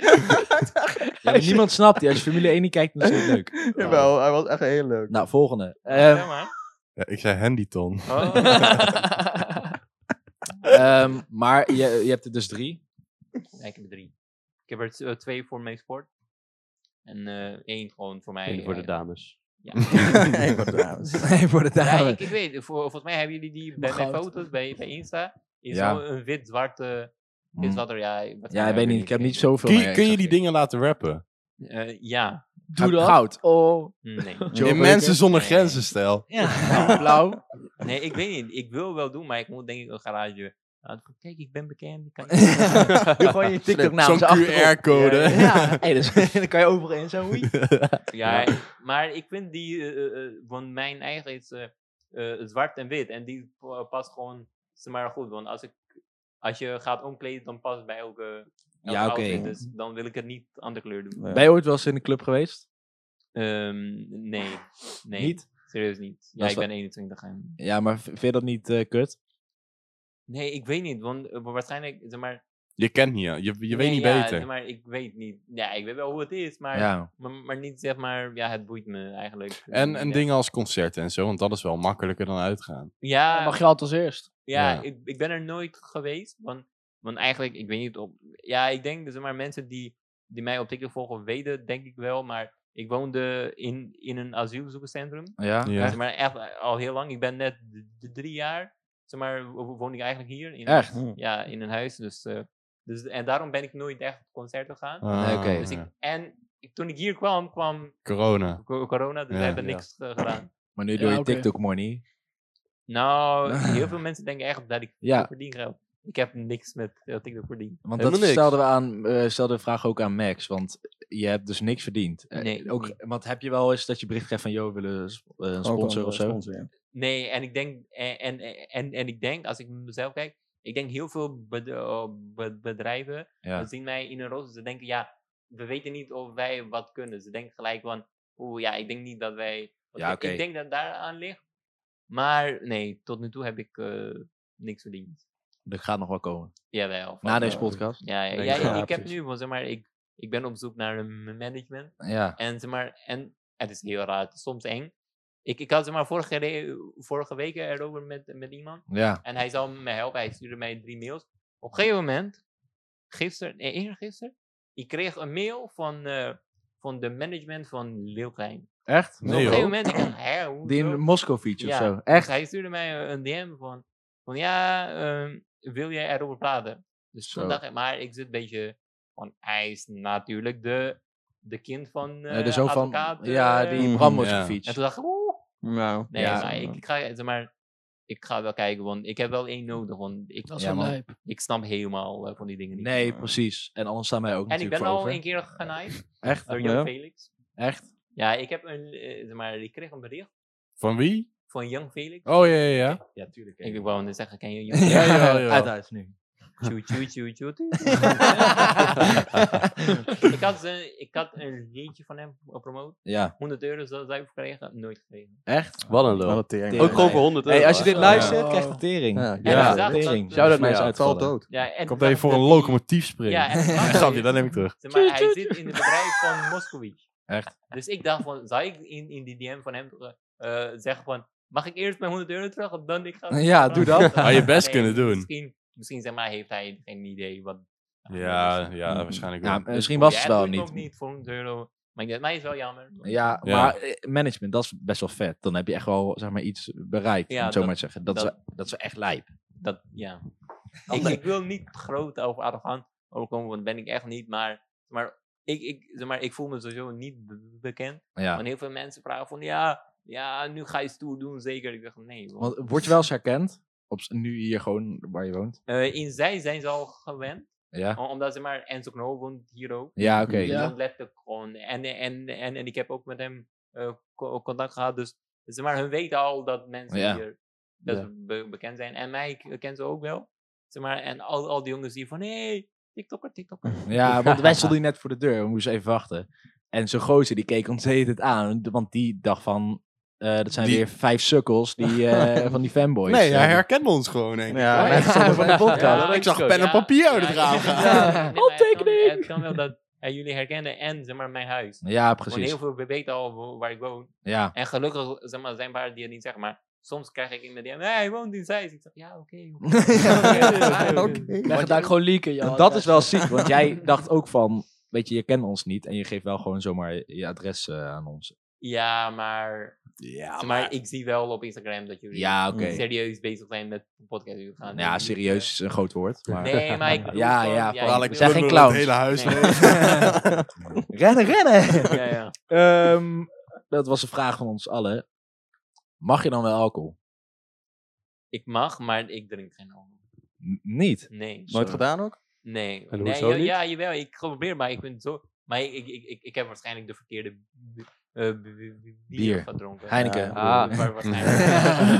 B: Ja, maar niemand snapt die. Als je Formule 1 niet kijkt, dan is het niet leuk.
E: Jawel, hij was echt heel leuk.
B: Nou, volgende. Ehm,
A: Ja, maar.
D: Ja, ik zei handyton.
A: Oh,
B: ehm, maar je, je hebt er dus drie.
A: nee, ik heb er drie. Ik heb er t- eh, twee voor mijn sport. En eh, één gewoon voor mij.
F: Eén voor de
A: eh,
F: dames.
E: Ik was trouwens.
B: Nee, voor de
A: Ja,
B: dame.
A: ik, ik weet, het, voor, volgens mij hebben jullie die bij mijn
C: goud.
A: foto's bij, bij Insta. Is
B: Ja.
A: zo een wit-zwarte.
B: Mm.
A: Is wat er, ja, wat
B: Ja,
A: voor
B: ik weet niet. Ik heb niet zoveel.
D: Kun
B: meer,
D: je, kun je
B: zag
D: die
B: ik.
D: dingen laten rappen?
A: Eh, ja,
C: Doe dat.
B: Goud.
C: Oh.
A: nee.
B: Joe
D: In
B: Baker?
D: Mensen zonder grenzen stijl.
B: Nou, Blauw.
A: Nee, ik weet niet. Ik wil wel doen, maar ik moet denk ik een garage. Nou, kijk, ik ben bekend. Ik kan
B: Doe gewoon je TikTok naam
D: Zo'n
B: zo achterop.
D: QR-code.
B: Ja, ja. Hey, dus, dan kan je overal in zo. oei.
A: Ja, maar ik vind die eh, eh, van mijn eigen is eh, eh, zwart en wit. En die pa- past gewoon zeg maar goed. Want als, ik, als je gaat omkleden, dan past het bij elke. elke
B: Ja, oké.
A: outfit, Dus dan wil ik het niet andere kleur doen.
B: Ben je ooit wel eens in de club geweest?
A: Ehm, nee. nee.
B: Niet?
A: Serieus niet. Ja,
B: Dat is
A: ik
B: wel-
A: ben 21 en.
B: Ja, maar v- vind je dat niet eh, kut?
A: Nee, ik weet niet, want eh, waarschijnlijk, zeg maar...
D: Je kent niet, ja. je, je weet
A: nee,
D: niet
A: ja,
D: beter.
A: Zeg maar, ik weet niet. Ja, ik weet wel hoe het is, maar,
D: Ja.
A: maar, maar niet zeg maar, ja, het boeit me eigenlijk.
D: En,
A: Ja.
D: en dingen als concerten en zo, want dat is wel makkelijker dan uitgaan.
A: Ja,
C: mag je altijd als eerst.
A: Ja,
D: Oh, Ja.
A: Ik, ik ben er nooit geweest. Want, want eigenlijk, ik weet niet op. Ja, ik denk, zeg maar, mensen die, die mij op TikTok volgen, weten denk ik wel. Maar ik woonde in, in een asielzoekerscentrum.
B: Ja.
D: Ja.
A: Zeg maar echt eh, al heel lang. Ik ben net d- d- drie jaar. Zeg maar, wo- woon ik eigenlijk hier. In,
B: Echt?
A: Ja, in een huis. Dus, eh, dus, en daarom ben ik nooit echt op concerten gegaan.
D: Ah,
B: Oké.
A: Dus ik,
D: ja.
A: en ik- toen ik hier kwam, kwam
D: Corona.
A: co- corona. Dus we
D: Ja.
A: hebben
D: Ja.
A: niks eh, gedaan.
B: Maar nu
C: Ja,
B: doe je
C: oké.
B: TikTok money.
A: Nou, heel veel mensen denken echt dat ik
B: Ja,
A: verdien geld. Ik heb niks met eh, TikTok verdiend.
B: want
F: Helemaal
B: dat
F: niks.
B: stelden we aan, eh stelden de vraag ook aan Max. Want je hebt dus niks verdiend. Eh,
A: Nee,
B: ook,
A: niet.
B: Want heb je wel eens dat je bericht krijgt van, joh, we willen sp- eh, een sponsor of zo?
A: Nee, en ik denk, en, en, eh, en, en ik denk, als ik mezelf kijk, ik denk heel veel bed- eh, be- bedrijven
B: Ja.
A: dat zien mij in een roze. Ze denken, ja, we weten niet of wij wat kunnen. Ze denken gelijk van, oeh, ja, ik denk niet dat wij. wat kunnen.
B: Ja, oké.
A: Ik denk dat daar aan ligt. Maar nee, tot nu toe heb ik eh, niks verdiend.
B: Dat gaat nog wel komen.
A: Jawel.
B: Na deze
E: ja.
B: podcast.
A: Ja, ja,
B: denk
A: ja,
B: ik.
A: ik-
E: Ja,
A: ik heb
E: precies.
A: nu, want zeg maar, ik, ik ben op zoek naar een management.
B: Ja.
A: En, zeg maar, en het is heel raar, het is soms eng. Ik, ik had zeg maar, vorige, re- vorige week erover met, met iemand.
B: Ja.
A: En hij zou me helpen. Hij stuurde mij drie mails. Op een gegeven moment, gisteren, nee, eergisteren, ik kreeg een mail van, eh, van de management van Leeuwkijn.
B: Echt?
A: op
D: Nee,
A: een
D: joh.
A: gegeven moment, ik dacht, hè, hoezo?
B: Die in Moskou feature
A: Ja,
B: of zo.
A: dus
B: Echt?
A: Hij stuurde mij een DM van, van ja, ehm, wil jij erover praten? Dus
B: Zo.
A: toen dacht ik, maar ik zit een beetje van, hij is natuurlijk de, de kind van eh
B: Eh, de zoon van...
A: advocaat.
B: ja,
A: eh,
B: die Bram
D: ja.
B: Moskou
A: En
B: feature.
A: toen dacht ik, oeh,
E: Nou,
A: Nee,
B: Ja.
A: maar, ik, ik ga, eh, zeg maar ik ga wel kijken, want ik heb wel
B: Hm.
A: één nodig, want ik,
C: Dat is
B: Ja,
C: wel
B: man.
C: lijp.
A: ik snap helemaal eh, van die dingen niet.
B: Nee, precies. En anders staan wij ook
A: en ik
B: natuurlijk
A: ben
B: voor
A: al
B: over.
A: een keer genaaid
B: Echt?
A: door
E: Ja.
A: Young Felix.
B: Echt?
A: Ja, ik heb een, eh, zeg maar, ik kreeg een bericht
D: Van wie?
A: van Young Felix.
D: Oh ja, ja, ja.
B: Ja, tuurlijk.
A: Ik wou net zeggen, ken je Young
B: Ja,
A: Felix?
D: Ja, jawel,
B: ja,
D: jawel.
B: uit, uit, nu.
A: Tjoe, tjoe, tjoe, tjoe, tjoe. ik, had, ze- ik had een liedje van hem gepromoot.
B: Ja,
A: 100 euro zou zou ik gekregen, nooit gekregen.
B: echt?
F: Wat een
E: wel
F: lul.
E: een tering.
F: Ook gewoon voor 100 euro.
B: Hey, als je dit
F: hè?
B: luistert,
C: Ja.
B: krijg je tering.
E: Ja,
A: Ja,
B: krijg je
A: ja.
B: tering.
A: Shout
F: out
B: Mij
F: naar
B: is
F: jou.
E: Het valt
B: uitgevallen.
E: dood.
A: Ja, en
D: Ik
A: toen
D: hoop dat je
A: zag
D: voor
A: ik
D: een
A: dat hij-
D: locomotief springt.
A: Ja, en toen zag ik
D: Grapje,
A: dat
D: dat neem ik terug.
A: Zeg maar, hij zit in het bedrijf van Moskowitz.
D: Echt?
A: Dus ik dacht van, zou ik in, in die DM van hem eh, zeggen van, mag ik eerst mijn 100 euro terug, of dan ik ga...
B: Ja, doe dat.
D: Had je best kunnen doen.
A: Misschien, misschien zeg maar, heeft hij geen idee wat...
D: Ja, ja, waarschijnlijk wel.
B: Nou, misschien was het
A: Ja,
B: wel
A: doe ik nog
B: niet.
A: niet voor 100 euro. Maar ik dacht, mij is wel jammer.
B: Ja,
D: Ja.
B: maar eh, management, dat is best wel vet. Dan heb je echt wel zeg maar, iets bereikt,
A: Ja,
B: om het zo
A: dat-
B: maar te zeggen. Dat,
A: dat-
B: is, dat is wel echt lijp.
A: Dat, ja. ik, ik wil niet groot of arrogant overkomen, want ben ik echt niet. Maar, maar, ik, ik, zeg maar ik voel me sowieso niet be- bekend.
B: Ja.
A: Want heel veel mensen vragen van, ja, ja, nu ga je stoer doen, zeker. Ik dacht, nee. want-
B: Want word je wel eens herkend? Op, s- nu hier gewoon waar je woont?
A: Eh, in zij zijn ze al gewend.
B: Ja.
A: om- Omdat ze maar Enzo Knol woont hier ook.
B: Ja, oké.
A: Die
C: Ja.
A: woont letterlijk gewoon. En, en, en, en ik heb ook met hem eh, co- contact gehad. Dus zeg maar, hun weten al dat mensen
B: Ja.
A: hier best
F: Ja.
A: be- bekend zijn. En mij k- kennen ze ook wel. Zeg maar, en al, al die jongens die van, hé, hey, TikToker, TikToker.
B: Ja, want wij stonden hier net voor de deur. We moesten even wachten. En zo'n gozer, die keek ons de hele tijd aan. Want die dacht van... eh, dat zijn
D: Die-
B: weer vijf sukkels die, eh, van die fanboys.
D: Nee, hij
B: Eh,
D: herkende ons gewoon, denk ik.
E: Ja,
B: Oh,
E: wij
B: ja.
E: stonden
B: Van
E: bij-
B: de podcast.
A: Ja,
F: dat
A: dat
F: is
D: ik zag
F: zo,
D: pen en
A: ja.
D: papier uit
A: Ja,
D: het raam
A: ik-
D: gaan.
B: Ja.
A: Nee, maar het kan-
B: Handtekening!
A: Het kan wel dat eh, jullie herkennen en zeg maar, mijn huis.
B: Ja,
A: Gewoon
B: precies.
A: heel veel we weten al wo- waar ik woon.
B: Ja.
A: En gelukkig zeg maar, zijn paar die het niet zeggen, maar soms krijg ik in de DM, hé, hij woont in Zeist. Ik zeg, ja, oké. oké.
E: Oké.
A: Ja, oké.
C: Leg het daar gewoon leaken, joh.
B: En dat is wel ziek, want jij dacht ook van... Weet je, je kent ons niet en je geeft wel gewoon zomaar je adres eh, aan ons.
A: Ja, maar,
D: Ja,
A: maar, ik zie wel op Instagram dat jullie
B: Ah, Ja, oké.
A: serieus bezig zijn met de podcast. die we gaan
B: Ja,
A: doen. Eh,
B: serieus is een groot woord. Maar...
A: Nee, maar ik bedoel
B: Ja,
A: gewoon,
B: ja,
A: ik
B: vooral
D: Dadelijk
B: we
A: wil-
B: zijn geen
D: plunderen we
B: clowns.
D: het hele huis
A: Nee.
D: leeg.
B: Rennen, rennen!
A: ja, ja.
B: Ehm, dat was een vraag van ons allen. Mag je dan wel alcohol?
A: Ik mag, maar ik drink geen alcohol.
B: N- niet.
A: Nee.
E: Nooit gedaan ook?
A: Nee.
F: En
A: nee
F: hoezo
A: ja,
F: niet?
A: ja, jawel, ik probeer, maar ik vind het zo... Maar ik, ik, ik, ik, ik heb waarschijnlijk de verkeerde b- eh, b- b- bier,
B: Bier.
A: gedronken.
B: Heineken.
A: Ja,
F: Ah.
A: maar waarschijnlijk.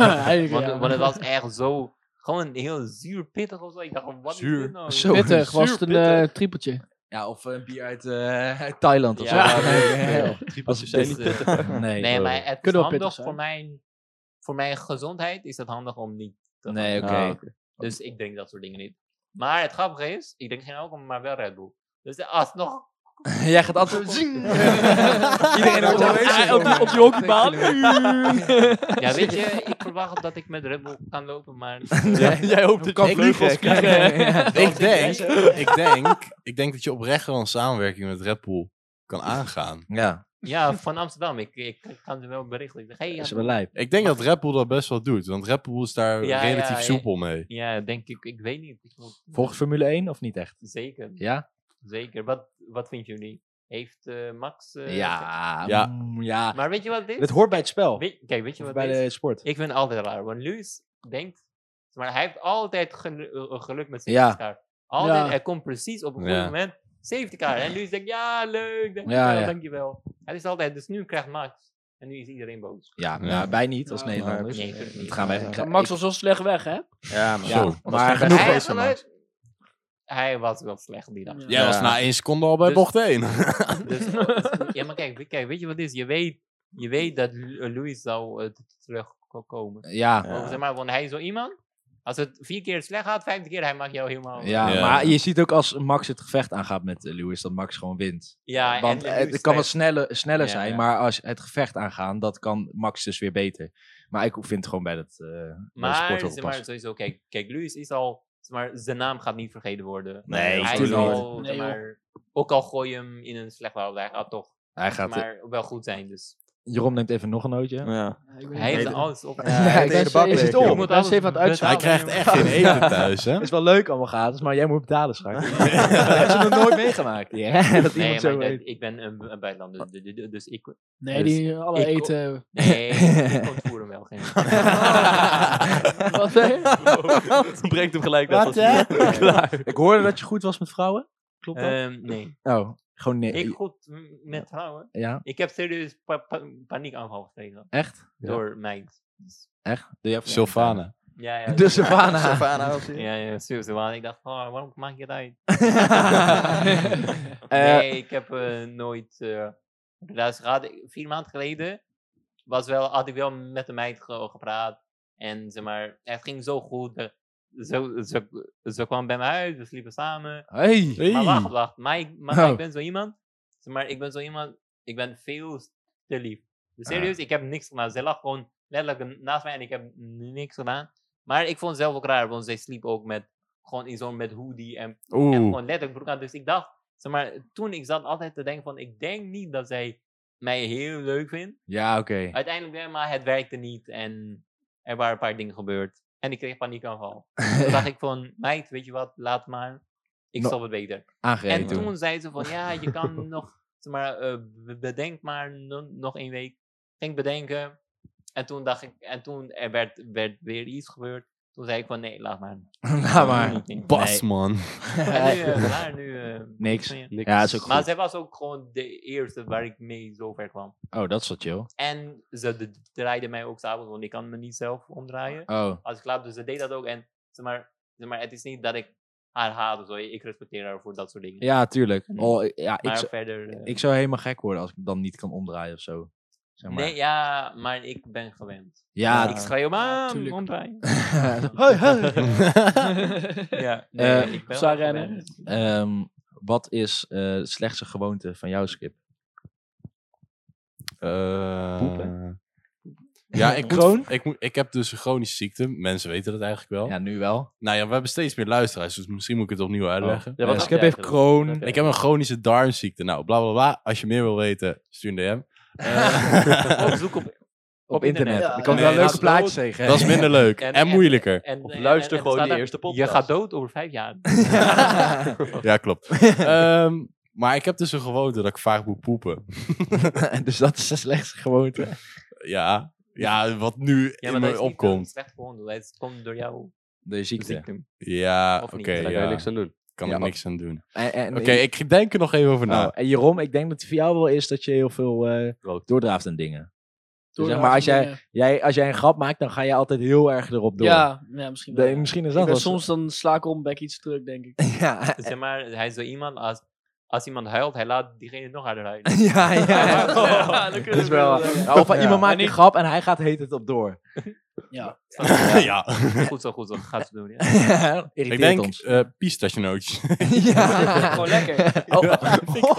C: Eigenlijk,
A: Want,
C: ja.
A: want het was echt zo, gewoon heel zuur pittig of zo. Ik dacht, wat
D: Zuur.
A: is dit nou?
B: Zo.
C: Pittig, was het een
D: Zuur,
C: eh, trippeltje.
B: Ja, of een bier uit, eh, uit Thailand of
A: Ja,
B: zo.
A: nee,
B: Als
F: Trippeltjes
B: dit-
F: zijn niet pittig.
B: Nee,
A: Nee,
B: oh.
A: maar het is
C: Kunnen wel
A: handig
C: pittig
A: voor mijn, voor mijn gezondheid. Is het handig om niet te gaan
B: Nee, oké.
A: drinken.
E: Ah,
A: Dus ik drink dat soort dingen niet. Maar het grappige is, ik drink geen alcohol, maar wel Red Bull. Dus alsnog...
C: Jij gaat altijd... Iedereen
B: op
C: op,
B: de race.
C: op, die, op die hockeybaan.
A: Ja, weet je, ik verwacht dat ik met Red Bull kan lopen, maar...
C: Jij hoopt dat je vleugels krijgt.
D: Ik denk, ik, denk, ik denk dat je oprecht gewoon een samenwerking met Red Bull kan aangaan.
B: Ja,
A: Ja, van Amsterdam. Ik, ik, kan ze wel berichten. Ik zeg, hey,
B: dat
A: ja,
B: is wel lijp.
D: Ik denk dat Red Bull dat best wel doet, want Red Bull is daar
A: Ja,
D: relatief
A: ja, ja.
D: soepel mee.
A: ja, denk ik. Ik weet niet. Ik moet-
B: Volgens Formule 1 of niet echt?
A: Zeker,
B: Ja?
A: zeker. Wat, wat vinden jullie? Heeft eh, Max... eh,
B: ja,
D: Ja.
B: mm, ja.
A: Maar weet je wat dit
B: Het
A: is?
B: hoort bij het spel.
A: Weet, kijk, weet je
B: Of
A: wat
B: bij
A: dit is?
B: de sport.
A: Ik vind het altijd raar, want Luis denkt, maar hij heeft altijd gelu- eh, geluk met zijn
B: Ja.
A: safety car. Altijd,
C: Ja.
A: hij komt precies op een goed
D: Ja.
A: moment, safety car. En Luis denkt, ja, leuk, dankjewel,
B: Ja, ja.
A: dankjewel. Het is altijd, dus nu krijgt Max. En nu is iedereen boos. Dus
B: Ja,
D: Ja.
B: nou, wij niet als
C: Ja,
B: Nederlanders.
A: Nee, natuurlijk niet.
B: Dat gaan wij
E: Ja.
B: ik-
C: Max was wel slecht weg, hè?
E: Ja, maar,
D: Zo.
E: zo.
B: Maar
E: maar
B: genoeg
E: genoeg
A: hij,
E: geweest
A: had
E: van
A: wel
E: Max.
A: hij was wel slecht die dag.
C: Ja.
D: Jij was na één seconde al bij
A: Dus-
D: bocht 1.
A: Dus, eh, ja, maar kijk, kijk, weet je wat het is? Je weet, je weet dat Lu- eh, Luis zou eh, t- terugkomen.
B: Ja,
E: Ja.
A: Of Zeg maar, want hij is zo iemand, als het vier keer slecht gaat, vijfde keer, hij maakt jou helemaal...
B: ja,
D: Ja.
B: maar je ziet ook als Max het gevecht aangaat met eh, Lewis, dat Max gewoon wint.
A: Ja,
B: Want eh,
A: en
B: het
A: Luis
B: kan
A: krijgt-
B: wat sneller, sneller
A: Ja,
B: zijn,
A: ja.
B: maar als het gevecht aangaan, dat kan Max dus weer beter. Maar ik vind gewoon bij dat... eh,
A: Maar,
B: sport wel
A: zeg maar
B: passen.
A: sowieso, kijk, kijk, Luis is al, zeg maar, zijn naam gaat niet vergeten worden.
B: Nee,
A: hij is
B: tuurlijk
A: al,
C: niet.
A: zeg
C: Nee, joh.
A: maar, ook al gooi je hem in een slecht houden, hij gaat toch
B: hij gaat...
A: maar wel goed zijn. Dus
B: Jeroen neemt even nog een nootje.
E: Ja.
A: hij heeft
E: nee,
A: alles op.
E: Ja, hij deed de bak leeg,
B: het om?
E: joh.
A: moet
C: ben
A: alles
C: even aan het uithalen.
D: Hij
A: betalen,
D: krijgt
A: jongen.
D: echt geen eten thuis, hè?
B: Het is wel leuk allemaal gratis, maar jij moet betalen schat. dat heb je nog nooit meegemaakt. Ja,
A: Nee,
B: dat iemand
A: maar
B: zo
A: ik-
B: weet.
A: ik ben een, een buitenlander, dus- dus- dus ik...
C: Nee, die eh, alle
A: Ik-
C: eten.
A: Nee, ik ontvoer hem wel. Geen...
C: Wat zei je?
F: Brengt hem gelijk net
B: Wat,
F: als
B: hè? Ik hoorde dat je goed was met vrouwen. Klopt dat?
A: Ehm, nee,
B: oh, gewoon nee.
A: ik goed m- met trouwen.
B: ja,
A: Ik heb serieus pa pa paniekaanval gekregen
B: echt?
A: door mij. Dus-
B: Echt? Doe jij
D: Sylvana.
A: Ja, ja.
B: De Savannah.
E: Savannah was hier.
A: Ja, ja, serieus. Want ik dacht, oh, waarom maak je het uit?
B: Eh,
A: nee, ik heb eh, nooit. eh relaties gehad. Ik- vier maanden geleden was wel, had ik wel met de meid ge- gepraat. En zeg maar, het ging zo goed. eh, Ze, ze, ze kwam bij me uit, we sliepen samen.
B: hey.
D: Hey.
A: Maar wacht, wacht. Maar ik, maar maar
B: Oh.
A: ik ben zo iemand. Zeg maar, ik ben zo iemand. Ik ben veel te lief. Dus serieus, ik heb niks gedaan. Zij lag gewoon letterlijk naast mij en ik heb niks gedaan. Maar ik vond het zelf ook raar, want zij sliep ook met. Gewoon in zo'n met hoodie en en
D: Oeh.
A: gewoon letterlijk broek aan. Dus ik dacht, zeg maar, toen ik zat altijd te denken van, ik denk niet dat zij mij heel leuk vindt.
B: Ja, oké.
A: Uiteindelijk wel, maar het werkte niet en er waren een paar dingen gebeurd. En ik kreeg paniekaanval. Toen dacht ik van, meid, weet je wat, laat maar. Ik
B: No-
A: snap het beter.
B: Aangereden
A: en
B: toen.
A: toen zei ze van, ja, je kan nog, zeg maar, eh, be- bedenk maar no- nog één week. Ging bedenken. En toen dacht ik, en toen er werd, werd weer iets gebeurd. Toen zei ik van, nee, laat maar.
B: Laat Nou, maar.
A: Niet in.
D: Bas, man.
A: En nu, eh, klaar, nu... eh,
B: Niks.
A: Ja.
F: Niks.
B: Ja, is ook
A: Maar
B: goed.
A: zij was ook gewoon de eerste waar ik mee zo ver kwam.
B: Oh, dat is wel chill.
A: En ze d- d- draaide mij ook s'avonds, want ik kan me niet zelf omdraaien.
B: Oh,
A: Als ik slaap, dus ze deed dat ook. En zeg maar, zeg maar, het is niet dat ik haar haat of zo. Ik respecteer haar voor dat soort dingen.
B: ja, tuurlijk. Oh, ja, ik,
A: maar
B: zou-
A: verder... eh,
B: ik zou helemaal gek worden als ik dan niet kan omdraaien of zo. Zeg maar.
A: Nee, ja, maar ik ben gewend.
B: Ja,
A: Ik schreeuw, mam,
C: tuurlijk.
A: omdraaien.
B: Hoi, hoi.
A: ja, nee,
B: Eh,
A: ik ben
C: zou
A: wel
C: rennen?
A: gewend.
B: Ehm, wat is eh, de slechtste gewoonte van jouw skip?
D: Eh,
B: Poepen?
D: Ja, ik,
B: Kroon?
D: moet, ik, moet, ik heb dus een chronische ziekte. Mensen weten dat eigenlijk wel.
B: Ja, nu wel.
D: Nou ja, we hebben steeds meer luisteraars, dus misschien moet ik het opnieuw uitleggen.
A: Oh.
F: Ja,
B: Ja, wat
F: wat had
B: Skip
F: jij
B: heeft
F: eigenlijk?
B: kroon.
F: Oké.
D: Ik heb een chronische darmziekte. Nou, bla bla bla. Als je meer wil weten, stuur een DM. Eh,
A: Ook zoek op...
B: Op,
A: Op
B: internet.
A: internet.
B: Dan
A: Ja.
B: kan
D: Nee,
B: wel
D: dat
B: leuke
D: is-
B: plaatjes tegen.
D: dat is minder leuk en,
A: En- en-
D: moeilijker.
A: En,
F: Of
A: en-
F: luister
A: en- en
F: gewoon
A: staat
F: die
A: er,
F: eerste
A: Je
F: podcast.
A: gaat dood over vijf jaar. Oh.
D: Ja, klopt. Ehm, maar ik heb dus een gewoonte dat ik vaak moet poepen.
B: dus dat is de slechtste gewoonte.
D: Ja, ja wat nu
A: Ja,
D: in
A: maar dat
D: me
A: is niet
D: opkomt.
A: een slecht gewoon. Het komt door jou.
B: De ziekte.
A: ziekte.
D: Ja,
A: Of
D: oké.
A: niet.
F: Daar
D: ja.
F: kan je niks aan doen.
D: kan
B: Ja,
D: er
B: wat-
D: niks aan doen.
B: En, en,
D: Oké, ik denk er nog even over
B: oh,
D: na.
B: en Jeroen, ik denk dat het voor jou wel is dat je heel veel eh,
F: Rood.
B: doordraaft en dingen. Dus zeg maar, als jij, jij, als jij een grap maakt, dan ga je altijd heel erg erop door.
C: Ja, ja, misschien wel.
B: De- misschien is
C: Ik
B: dat
C: ben
B: wel
C: soms dan sla ik om bij iets terug, denk ik.
B: Ja,
A: Zeg maar, hij is zo iemand als als iemand huilt, hij laat diegene nog harder huilen.
E: ja, ja.
B: Ja,
C: dat
B: Dat is wel, Nou, of
E: Ja.
B: iemand maakt een grap en hij gaat heet het op door.
D: ja.
A: Goed zo, goed zo. Gaat ze doen. Ja.
B: Irriteert
D: Ik denk
B: ons.
D: eh pistachenootjes.
C: Gewoon lekker.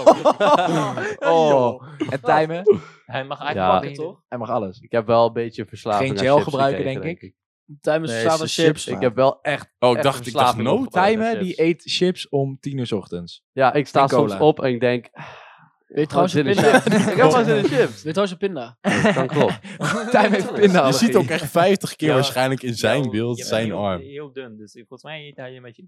B: Oh. En timen,
A: Hij mag
F: Ja.
A: eigenlijk pakken, toch?
B: hij mag alles.
F: Ik heb wel een beetje verslaving
B: Geen
F: aan
B: gel
F: chips
B: gebruiken,
F: gekregen,
B: denk
C: Tijdens
E: Nee,
C: nee,
E: ze
C: chips.
E: chips.
F: Ik heb wel echt...
D: Oh, ik
F: echt
D: dacht,
F: een
D: ik dacht
F: verslaving
D: noot.
F: opgebouwd aan
B: Timen,
F: chips.
B: die eet chips om tien uur 's ochtends.
F: Ja, ik sta
B: En
F: soms
B: cola.
F: op en ik denk...
C: Weet je
F: Gewoon
C: trouwens een
F: zin in
C: pinda?
F: chips. Ik heb wel zin in chips.
C: Weet je trouwens een pinda?
F: Dat klopt.
B: Tijmen heeft pinda.
D: Je ziet ook echt 50 keer
A: Ja.
D: waarschijnlijk in zijn
A: Ja,
D: beeld,
A: je bent
D: zijn
A: heel,
D: arm.
A: Heel dun, dus volgens mij eet hij een beetje.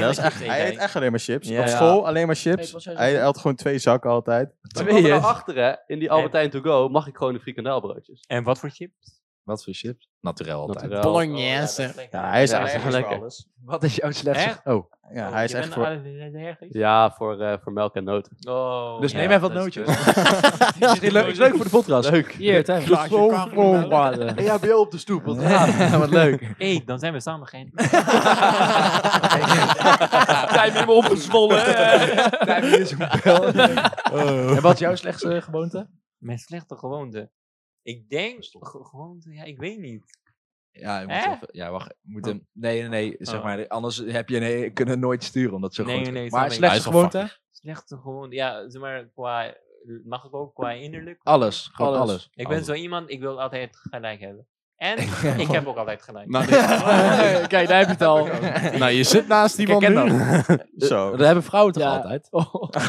E: Dat is echt, hij eet echt alleen maar chips.
A: Ja,
E: Op
A: ja.
E: school alleen maar
C: Nee,
E: chips.
C: wat zei ze?
E: hij had gewoon twee zakken altijd.
F: Maar we
B: Tweeën.
F: komen erachter, hè. In die Albertijn To Go mag ik gewoon de frikandelbroodjes.
A: En wat voor chips? Oh,
B: Wat voor chips? Naturel altijd.
F: Naturel.
D: Bolognese.
E: Ja, hij is
F: Ja,
E: echt
F: dat is lekker.
E: alles.
B: Wat is jouw slechtste?
A: Echt?
B: Oh.
E: Ja, hij is echt voor...
F: Ja, voor, eh, voor melk en noten.
A: Oh,
B: Dus
A: ja,
B: neem even wat
A: dat is
B: nootjes.
A: kut.
B: is leuk, is leuk voor de podcast.
F: Leuk.
C: Hier, Tijmen.
F: EHBO op de stoep. Wat
B: Wat leuk.
A: Eet, dan zijn we samen geen.
C: Tijmen helemaal opgezwollen.
B: Tijmen is een bel.
D: Oh.
B: En wat is jouw slechtste gewoonte?
A: Mijn slechte gewoonte. Ik denk, ge- gewoonte, ja, ik weet niet.
B: Ja, je moet
A: Hè?
B: even, ja wacht. je Moet hem, nee, nee, nee. Zeg maar, anders heb je nee, kunnen nooit sturen omdat het zo
A: Nee,
B: goed
A: nee, nee, snap ik.
B: Maar
D: Hij
B: slechtste
D: is wel
B: gewoonte?
A: Slechte gewoonte, ja, zeg maar, qua, mag ik ook qua innerlijk?
B: Alles. Gewoon alles.
C: Alles.
A: Ik ben
B: Alles.
A: zo iemand, ik wil altijd gelijk hebben. En ik heb ook altijd gelijk.
D: Nou, dit-
C: Kijk, daar heb je het al.
D: nou, je zit naast iemand
B: ken
D: nu.
E: Zo.
B: Dat
E: Eh,
B: hebben vrouwen toch
C: Ja.
B: altijd?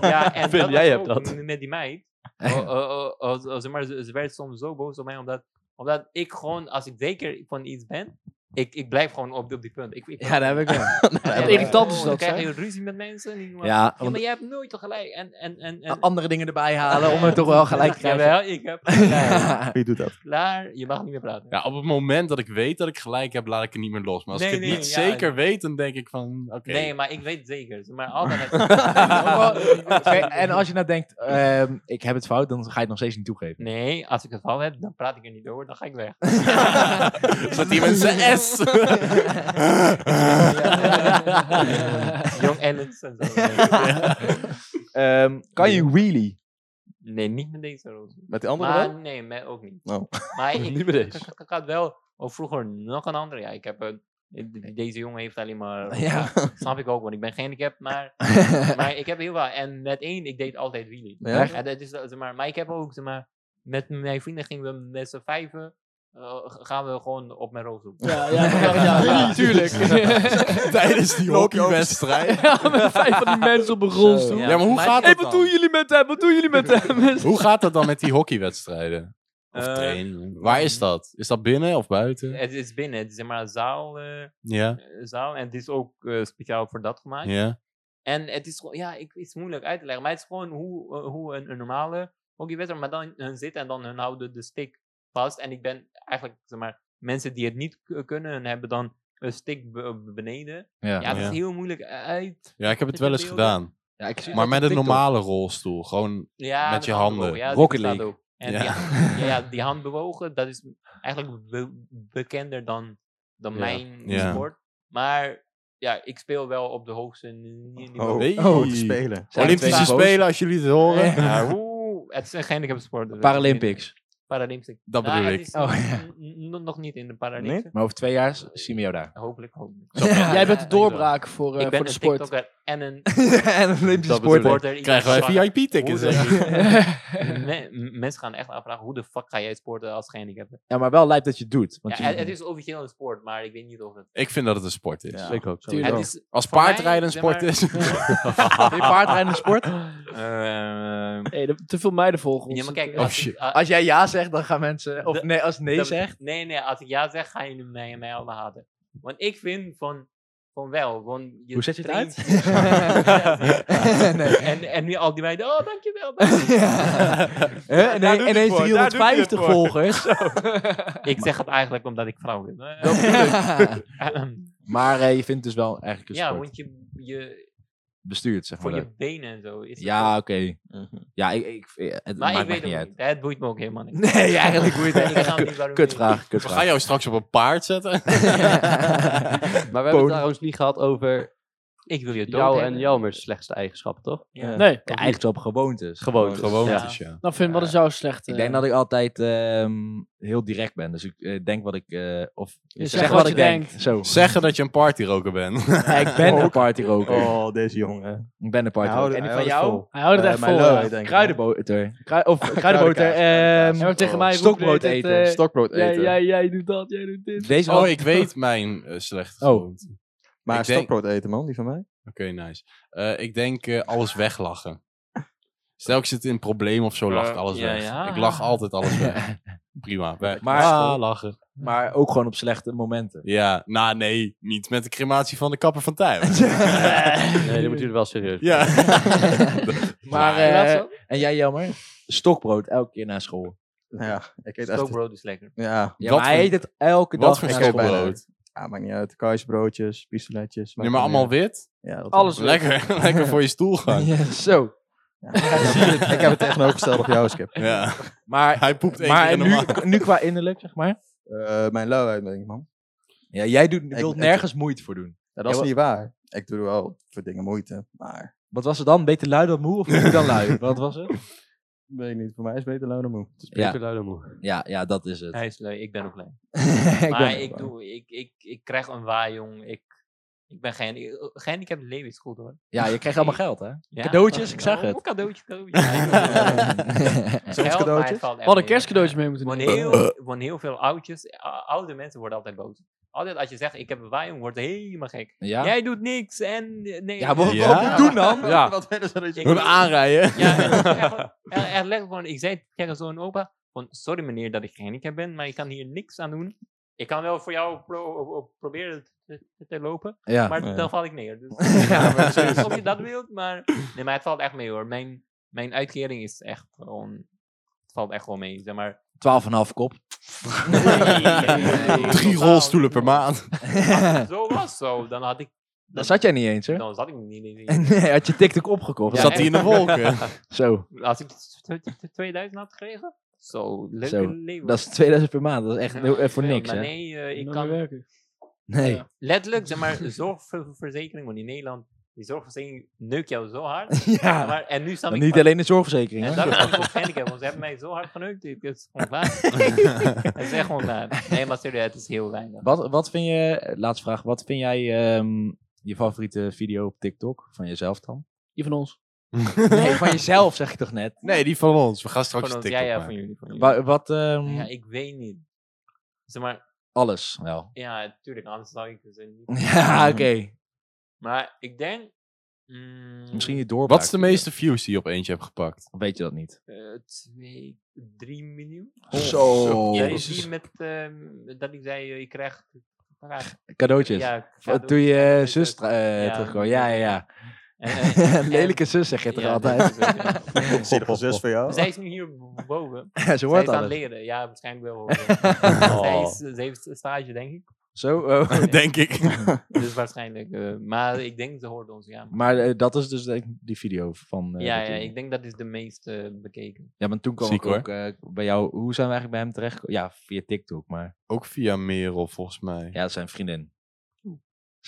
A: Ja, en
F: Vin,
A: dat
F: jij
A: was
F: hebt
A: ook
F: dat.
A: m- Met die meid. Oh, oh, oh, oh, oh, zeg maar, ze, ze werd soms zo boos op mij, omdat, omdat ik gewoon, als ik zeker van iets ben, ik, ik blijf gewoon op, op die punt. Ik, ik,
B: Ja, dat heb ik wel.
A: en-
C: irritant is
A: oh,
C: dat,
A: Dan krijg
C: zeg.
A: je ruzie met mensen. die-
B: Ja,
A: Ja,
B: want Ah,
A: maar jij hebt nooit gelijk. En, en, en, en,
B: andere dingen erbij halen om het toch wel gelijk te krijgen.
A: Jawel, ik heb gelijk.
E: Wie doet dat?
A: Klaar, je mag niet meer praten.
D: Ja, op het moment dat ik weet dat ik gelijk heb, laat ik het niet meer los. Maar als
A: Nee,
D: ik het
A: nee,
D: niet
A: ja.
D: zeker weet, dan denk ik van, oké.
A: Nee, maar ik weet het zeker. Maar altijd...
B: Oké, en als je nou denkt, ehm, ik heb het fout, dan ga je het nog steeds niet toegeven.
A: Nee, als ik het fout heb, dan praat ik er niet over, dan ga ik weg.
D: Zat die met
B: Eh,
D: zijn S?
A: Jong Ellens en zo.
E: Ehm, kan je wheelie?
A: Nee, niet met deze roos.
E: Met die andere
A: Maar
E: wel?
A: nee, mij ook niet.
E: Oh.
A: Maar ik,
F: Niet met
A: ik-
F: deze.
A: ik- ik had wel of vroeger nog een andere. Ja, ik heb een, de- deze jongen heeft alleen maar.
B: Ja.
A: Snap ik ook, want ik ben gehandicapt, maar, maar ik heb heel veel. En met één, ik deed altijd wheelie.
E: Ja?
A: Ja, dat is, zeg maar, maar ik heb ook, zeg maar, met mijn vrienden gingen we met z'n vijven. eh, g- gaan we gewoon op mijn roos doen.
C: Ja, ja, ja, ja, ja. tuurlijk.
D: Tijdens die
E: Loop je over-
D: hockeywedstrijd.
C: Ja, met vijf van die mensen op een rolstoel.
D: Ja, maar hoe gaat
C: Hé,
D: dat
C: wat doen
D: dan?
C: jullie met hem? Wat doen jullie met hem?
D: Hoe gaat dat dan met die hockeywedstrijden? Of
A: Eh,
D: trainingen? Waar is dat? Is dat binnen of buiten?
A: Het is binnen, het is zeg maar een zaal, eh,
D: Ja,
A: zaal. En het is ook eh, speciaal voor dat gemaakt.
D: ja.
A: En het is gewoon, ja, ik, het is moeilijk uit te leggen. Maar het is gewoon hoe, eh, hoe een, een normale hockeywedstrijd, maar dan hun zitten en dan hun houden de stick vast. En ik ben eigenlijk, zeg maar, mensen die het niet k- kunnen, hun hebben dan een stick be- eh, beneden. Ja, dat
D: ja.
A: is heel moeilijk uit.
D: Ja, ik heb het
A: Met
D: wel
A: de
D: eens
A: beelden.
D: gedaan.
B: Ja, ik zie dat
D: Maar met
B: op
D: een
B: TikTok.
D: normale rolstoel. Gewoon,
A: Ja,
D: Met je
A: de hand
D: handen.
A: bewogen. Ja,
B: Rocket
A: die bestaat
B: League.
A: ook. En
D: Ja.
A: Die, hand- ja, ja, die hand bewogen, dat is eigenlijk be- bekender dan, dan
F: Ja.
A: mijn
D: Ja.
A: sport. Maar ja, ik speel wel op de hoogste ni- niveau.
E: Oh,
D: Hey.
E: oh, te spelen.
B: Zijn er
D: Olympische
B: twee
D: Spelen, als jullie het horen.
A: Ja, oeh, het is een gehandicaptensport. dus
B: boos?
A: het is minder.
B: Paralympics.
A: Paralympics.
D: Dat
A: Nou,
D: bedoel
A: het
D: ik.
A: is
B: Oh,
A: n- n- n- nog niet in de Paralympics.
B: Maar over twee jaar zien we jou daar.
A: Hopelijk, hopelijk.
C: Jij bent de doorbraak voor, eh,
A: ik ben
C: voor de
A: een
C: sport.
A: TikToker en een
B: en een Olympische
D: Dat bedoel
B: sporter.
D: ik.
A: sporter. Ik
D: Krijgen
A: ben
D: wij
A: zwak.
D: VIP-tickets?
A: Hoe
D: hè?
B: eh.
A: Me- m- mensen gaan echt afvragen, hoe de fuck ga jij sporten als gehandicapte?
B: Ja, maar wel lijkt dat je het doet.
A: Ja,
B: Want je-
A: het, het is officieel een sport, maar ik weet niet of het...
D: Ik vind dat het een sport is.
E: Ja.
F: Ik ook zo.
C: Tuurlijk.
A: Het
E: wel.
A: is...
D: Als
A: Voor mij,
D: paardrijden een
A: zeg
D: sport
A: maar-
D: is.
B: Vind je paardrijden een sport?
A: Ehm,
C: Hey, er- te veel meiden volgen ons.
A: ja, maar kijk,
C: Het, eh,
A: als,
D: shit.
A: ik- ah, a-
B: Als jij ja zegt, dan gaan mensen... Of
A: Dat-
B: nee, als nee
A: dat-
B: zegt...
A: Nee, nee, als ik ja zeg, gaan jullie mij, mij allemaal haten. Want ik vind van, van wel. Want je
B: Hoe zet je het
A: traint-
B: nee.
A: en, en nu al die meiden, oh, dankjewel. dankjewel.
B: Hè?
D: Daar
B: Nee,
D: doe je het
B: ineens
D: voor, daar doe je het
B: 350
D: voor.
B: volgers.
A: Ik zeg het eigenlijk omdat ik vrouw ben. Eh, ehm,
B: maar eh, je vindt dus wel eigenlijk een
A: ja,
B: sport.
A: want je, je,
B: Bestuurd, zeg
A: voor
B: maar.
A: je benen en zo. Is het
B: Ja,
A: ook-
B: oké. Ja, ik, ik, het
A: maar
B: maakt
A: ik weet
B: me
A: het
B: niet
A: ook
B: uit.
A: niet. Het boeit me ook helemaal niet.
B: Nee, eigenlijk hoe je het
A: Ik ga niet waarom
B: Kutvraag,
D: We
B: kutvraag.
D: gaan jou straks op een paard zetten.
F: Maar we hebben het trouwens niet gehad over
A: Ik wil je dood
F: Jou
A: hebben.
F: en Jelmer's slechtste eigenschappen, toch?
A: Ja.
C: Nee.
B: Ja, eigenlijk op gewoontes. Dus,
F: Gewoon.
D: Gewoon
F: Ja.
D: is, ja.
C: Nou, Finn, wat is jouw slechte...
B: Ik denk dat ik altijd ehm, heel direct ben. Dus ik eh, denk wat ik... eh, of
C: zegt wat je denkt.
B: Zo.
D: Zeggen dat je een partyroker bent.
B: Ja, ik ben een partyroker.
E: Oh, deze jongen.
B: Ik ben een partyroker. En die van jou? Eh,
C: Hij houdt het echt eh, vol. ja.
E: denk
B: Kruidenboter. Krui- of kruidenboter.
E: Kruidenkaas.
B: ehm,
C: Hij wordt tegen mij roept
B: Stokbrood
C: de hele tijd,
B: eten.
C: eh,
E: Stokbrood
C: jij,
E: eten.
C: jij, jij doet dat, jij doet dit.
B: Deze
D: Oh,
B: was-
D: ik weet mijn eh, slechte
B: Oh.
D: gewoonte.
E: Maar
D: Ik denk-
E: stokbrood eten, man, die van mij.
D: Oké, nice. Eh, ik denk eh, alles weglachen. Stel ik zit in een probleem of zo, lacht
A: Eh,
D: alles
A: ja,
D: weg.
A: ja.
D: Ik lach altijd alles weg. Prima. Weg.
B: Maar-
D: Ah, lachen.
B: Maar ook gewoon op slechte momenten.
D: Ja, nou nee, niet met de crematie van de kapper van Tuin.
F: Nee, dan moet je er wel serieus
D: ja.
B: Maar,
D: Nee.
B: eh,
C: Laatst
B: en jij jammer? Stokbrood elke keer na school.
E: Ja, ik eet echt...
A: Stokbrood is dus lekker.
E: Ja,
B: Ja,
D: Wat
B: maar hij
D: voor-
B: eet het elke
D: Wat
B: dag
D: voor
B: na
E: ik eet
B: school.
D: stokbrood?
E: bijna uit. Ja, maakt niet uit. Kaarsbroodjes, pistoletjes.
D: Nee, maar allemaal wit?
E: Ja, dat-
C: Alles lekker.
D: Lekker, lekker voor je stoel gaan.
B: Ja, zo.
E: Ja, ik heb het- ik heb het tegenovergesteld op jou, Skip.
D: Ja.
B: Maar,
D: Hij poept één keer
B: maar
D: in de
B: nu,
D: maand.
B: nu qua innerlijk, zeg maar.
E: Eh, mijn luiheid, denk ik, man.
B: Ja, jij doet,
E: wilt
B: wilt nergens moeite voor doen.
E: Ja, dat is
B: Ja, wa-
E: niet waar. Ik doe wel voor dingen moeite, maar...
B: Wat was het dan? Beter lui dan moe of moe dan lui? Wat was het?
E: Weet ik niet, voor mij is beter lui dan moe.
B: Ja,
F: moe.
B: ja, ja dat is het.
A: Hij is leuk, ik ben ook leuk.
E: ik
A: maar
E: ben-
A: ik, doe, ik, ik, ik krijg een waar, jong. Ik, ik ben geen... Gehandicapt leven is goed, hoor.
B: Ja, je krijgt allemaal geld, hè?
A: Ja?
B: Cadeautjes, ik zag
A: Oh,
B: het.
A: Cadeautje, cadeautje. Ja, ik wil, eh,
E: Soms
A: geld, maar
E: cadeautjes?
A: het valt echt
C: We hadden
A: mee.
C: kerstcadeautjes mee moeten
A: Worden
C: nemen.
A: heel, worden heel veel oudjes, eh, oude mensen worden altijd boos. Altijd als je zegt, ik heb een waaiing, wordt helemaal gek.
B: Ja,
A: Jij doet niks en... eh, Nee,
B: ja wat
D: Ja.
B: wat moet ik doen dan?
F: Ja,
E: Wat willen ze dat je...
A: Ik-
D: Hun aanrijden.
A: Ja, echt, echt, echt letterlijk gewoon, ik zei tegen zo'n opa, van, sorry meneer dat ik gehandicapt ben, maar ik kan hier niks aan doen. Ik kan wel voor jou pro- pro- proberen te, te lopen,
B: Ja.
A: maar
E: Ja.
A: dan val ik neer. Dus,
B: Ja,
A: ik weet niet of je dat wilt, maar, nee, maar het valt echt mee hoor. Mijn, mijn uitkering is echt gewoon, het valt echt wel mee, zeg maar.
B: 12,5 kop.
A: Nee,
D: Drie
A: totaal
D: rolstoelen
A: niet.
D: per maand.
A: Als het zo was zo, dan had ik,
B: Dat zat jij niet eens, hè?
A: dan zat ik niet in die-
B: Nee, had je TikTok opgekocht.
A: Ja,
D: Zat hij in de wolken.
B: Zo,
A: Als ik t- t- t- 2000 had gekregen, zo, leuk
B: Zo,
A: leven.
B: dat is 2000 per maand. Dat is echt heel- eh, voor
A: Nee,
B: niks,
A: maar
B: hè?
A: Nee, eh, ik
C: Dan
A: kan
C: weer werken.
B: Nee.
C: Ja.
A: letterlijk, zeg maar, de zorgverzekering, want in Nederland, die zorgverzekering neukt jou zo hard.
B: Ja.
A: Maar, en nu sta
B: Maar
A: ik...
B: niet
A: van-
B: alleen de zorgverzekering,
A: En
B: hè?
A: dat is ook handicap, want ze hebben mij zo hard geneukt, het is gewoon klaar. het is echt gewoon klaar. Nee, maar serieus, het is heel weinig.
B: Wat, wat vind je, eh, laatste vraag, wat vind jij ehm, je favoriete video op TikTok? Van jezelf dan?
C: Die van ons.
B: Nee, van jezelf zeg ik toch net?
D: Nee, die van ons. We gaan straks
A: Van ons,
D: een
A: ja,
D: TikTok
A: ja, van
D: maken.
A: jullie. Van jullie.
B: Wa- wat, ehm,
A: Ja, ik weet niet. Zeg maar,
B: alles wel.
A: ja, tuurlijk, anders zou ik het niet.
B: Ja, oké.
A: Maar ik denk... mm,
B: Misschien je doorbraak.
D: Wat is de meeste views die je op eentje hebt gepakt?
B: Of weet je dat niet?
A: eh, twee, drie miljoen.
B: Oh, Zo.
A: Ja, is die met, ehm, dat ik zei, eh, ik krijg...
B: Cadeautjes.
A: Ja,
B: Van- Toen
A: cadeautjes.
B: je eh,
A: zus.
B: zus tra- eh,
A: Ja.
B: terugkwam. Ja, ja, ja.
A: En- en- en-
B: Lelijke zus zeg je toch
A: Ja,
B: altijd?
A: dat is ook, ja.
E: Zielige zus voor jou.
A: Zij is nu hier boven. Zij
B: Ze hoort
A: is aan het
B: alles.
A: leren. Ja, waarschijnlijk wel. Zij, is, ze heeft stage, denk ik.
B: Zo, oh.
D: Denk ik.
A: Dus waarschijnlijk. eh, maar ik denk ze hoort ons, ja.
B: Maar eh, dat is dus denk ik die video van... eh,
A: ja,
B: dat
A: ja,
B: toen-
A: ik denk dat is de meest eh, bekeken.
B: ja, maar toen kwam
D: Ziek,
B: ik ook eh, bij jou... Hoe zijn we eigenlijk bij hem terecht? Ja, via TikTok, maar...
D: Ook via Merel, volgens mij.
B: Ja, dat zijn vriendin.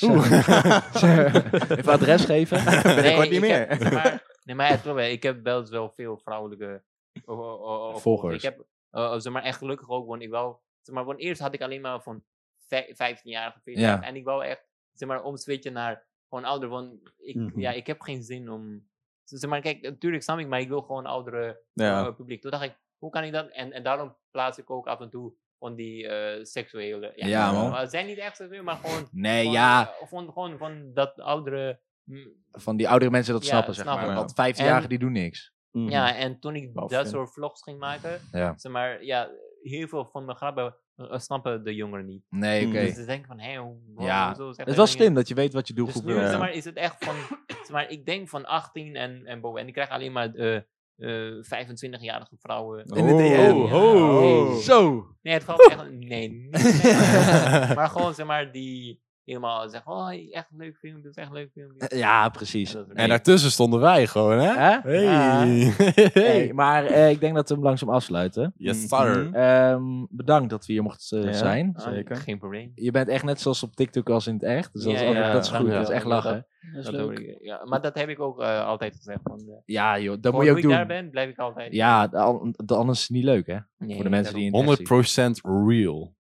D: Oeh.
B: Even adres geven.
A: Ben
E: ik ooit niet meer.
A: maar, nee, maar het probleem, ik heb wel, eens wel veel vrouwelijke o- o- o- o-
B: Volgers.
A: Ik heb, eh, zeg maar, echt gelukkig ook, want ik wel... Zeg maar, want eerst had ik alleen maar van vij- 15 jaar, 14
B: Ja.
A: jaar. En ik wou echt, zeg maar, omswitchen naar gewoon ouder. Want ik,
E: Mhm.
A: ja, ik heb geen zin om... Zeg maar, kijk, natuurlijk snap ik, maar ik wil gewoon oudere...
E: Ja.
A: eh, publiek. Toen dacht ik, hoe kan ik dat? En, en daarom plaats ik ook af en toe van die eh, seksuele.
B: Ja, man.
A: maar Het zijn niet echt seksueel, maar gewoon.
B: Nee,
A: van,
B: ja.
A: eh, van, gewoon van dat oudere. mm,
B: Van die oudere mensen dat
A: Ja,
B: snappen, zeg
A: snap
B: maar.
E: ik.
B: Want 15-jarigen
A: En-
B: die doen niks.
E: Mhm.
A: Ja, en toen ik
E: Baf,
A: dat
E: ja.
A: soort vlogs ging maken,
B: Ja.
A: zeg maar, ja, heel veel van mijn grappen eh, snappen de jongeren niet.
B: Nee,
E: Mm.
B: oké.
A: Dus ze denken van, hé, hoe
B: Ja.
A: hoezo zegt
B: Het is
A: hij
B: wel
A: dat niet?
B: slim dat je weet wat je
A: Dus
B: doelgroep
A: nu
B: wil.
A: zeg maar, is het echt van, zeg maar, ik denk van 18 en, en boven. En ik krijg alleen maar eh, eh, 25-jarige vrouwen.
E: In de DM.
D: Oh,
A: oh.
B: Zo!
A: Nee, het valt echt. Nee, niet. nee, maar- maar gewoon zeg maar die. helemaal zeggen, oh, echt een leuk filmpje, het is echt een leuk filmpje.
B: Ja, precies.
A: En dat soort
D: En
A: dingen.
D: daartussen stonden wij gewoon, hè?
B: Hè?
D: Hey.
B: Ja. Hey,
D: hey.
B: maar eh, ik denk dat we hem langzaam afsluiten.
D: Yes, sir.
E: Mhm.
B: Ehm, bedankt dat we hier mochten eh,
E: Ja.
B: zijn.
A: Ah,
E: zeker.
A: Geen probleem.
B: Je bent echt net zoals op TikTok als in het echt. Dus dat, is,
A: Ja,
B: altijd-
E: ja,
B: dat is goed.
A: ja.
B: Dat is echt
A: Ja,
B: lachen.
C: Dat is
A: Dus Dat hoor
C: leuk.
A: ik, ja, maar dat heb ik ook eh, altijd gezegd. Want, eh,
B: Ja, joh. Dat
A: voor
B: moet je ook
A: Hoe ik daar
B: doen.
A: ben, blijf ik altijd.
B: Ja, de- an- de- anders is het niet leuk, hè?
A: Nee,
B: Voor de mensen die in
D: 100% real.
A: daarom.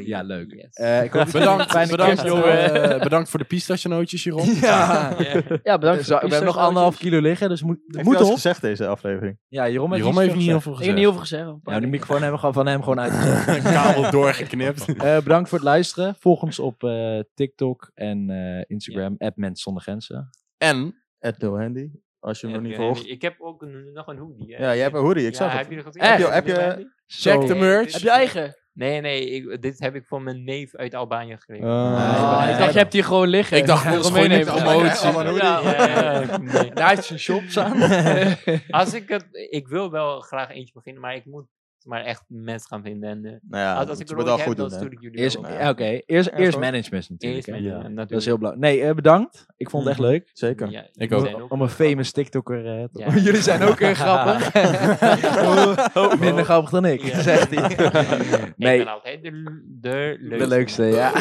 B: Ja, leuk.
A: Yes.
B: Eh, ik hoop dat jullie een
D: Bedankt,
B: fijne
D: bedankt,
B: kerst
D: jongen.
B: hebben.
D: Eh, bedankt voor de pistachenootjes, Jeroen.
E: Ja.
B: Ja, bedankt.
C: voor
B: we
C: de
B: hebben nog
C: pistache
B: anderhalf
C: nootjes.
B: kilo liggen, dus moet, moet
E: Heeft hij wel eens
B: op.
E: gezegd deze aflevering?
B: Ja, Jeroen heeft,
D: Jeroen
B: iets
D: heeft niet heel
B: gezegd.
D: veel
C: Ik heb
D: gezegd.
C: niet heel veel gezegd. een paar
B: Nou, de
C: dingen.
B: microfoon hebben we gewoon van hem gewoon uit.
D: kabel doorgeknipt.
B: Eh, bedankt voor het luisteren. Volg ons op eh, TikTok en eh, Instagram. App Mens Zonder Grenzen.
D: En
E: Ed No Handy, als je hem nog
A: Oké,
E: niet
A: en
E: volgt.
A: Ik heb ook een- nog een hoodie. hè.
E: Ja, jij hebt een hoodie, ik
A: Ja,
E: zag
A: heb
E: het.
A: je er gezien?
B: Echt?
A: Heb
E: Heb je-
A: een
E: heb je-
A: hoodie?
B: Check
A: de
B: de
A: merch.
C: Heb je eigen?
A: Nee, nee, ik, dit heb ik van mijn neef uit Albanië
B: Eh, Oh.
A: gekregen.
C: Ah, ik dacht, je hebt die gewoon liggen.
D: ik dacht,
C: Ja,
D: dat is
C: gewoon
D: gewoon niet de
C: meenemen.
D: emotie.
A: Ja, ja, ja, nee.
B: Daar heeft zijn shops aan.
A: Als ik het, ik wil wel graag eentje beginnen, maar ik moet maar echt mensen gaan vinden. En, eh,
E: Nou ja,
A: als,
E: moet
A: als
E: je
A: ik
E: het
A: er
E: moet
A: ooit
E: wel
A: heb,
E: goed
A: dan
E: doen. hè.
A: stuur ik jullie
B: Eerst,
A: wel.
B: ja, Oké, eerst,
E: Ja,
B: eerst
E: gewoon.
B: management natuurlijk.
A: Eerst met,
B: hè.
E: ja.
A: eh, natuurlijk.
B: Dat is heel belangrijk. Nee, eh, bedankt. Ik vond het echt leuk.
E: Zeker.
A: Ja,
D: Ik
A: jullie
D: ook.
A: zijn
B: Om een famous TikToker eh, te
A: Ja.
B: Jullie zijn ook eh, grappig. Minder grappig dan Oh. ik,
A: Ja.
B: zegt hij. Nee.
A: Ik ben altijd de, de leukste.
B: De leukste, ja.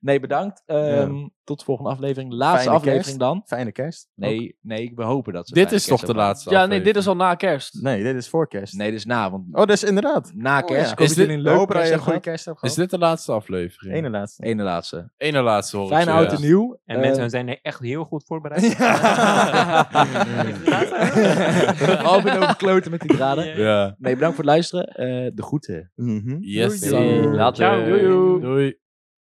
B: Nee, bedankt. Ehm, Tot de volgende aflevering. Laatste
E: Fijne
B: aflevering
E: kerst.
B: dan.
E: Fijne kerst. Ook.
B: Nee, nee, we hopen dat ze
D: Dit
B: fijne
D: is toch
B: kerst
D: de
B: hebben.
D: laatste
C: Ja, nee, dit is al na kerst.
E: Nee, dit is voor kerst.
B: Nee, dus na, want
E: Oh, dat is inderdaad.
B: na kerst
E: ja.
B: komen
D: Is
B: jullie
D: dit-
B: een
E: We
B: leuke
E: hopen dat je een
B: kerst
E: goede
B: hebben
E: kerst hebt
D: Is
E: gehad.
D: dit de laatste aflevering?
E: Ene laatste.
B: gehad. Ene laatste.
D: Ene laatste hoor.
B: Fijne oud en nieuw.
A: En
B: Eh,
A: mensen zijn echt heel goed voorbereid.
B: Alvin over kloten met die draden.
A: Ja.
D: Ja.
B: Nee, bedankt voor het luisteren. Eh, de groeten.
E: Mhm.
D: Yes.
B: Doei.
F: Later.
A: Ciao.
F: Doei.
D: Doei.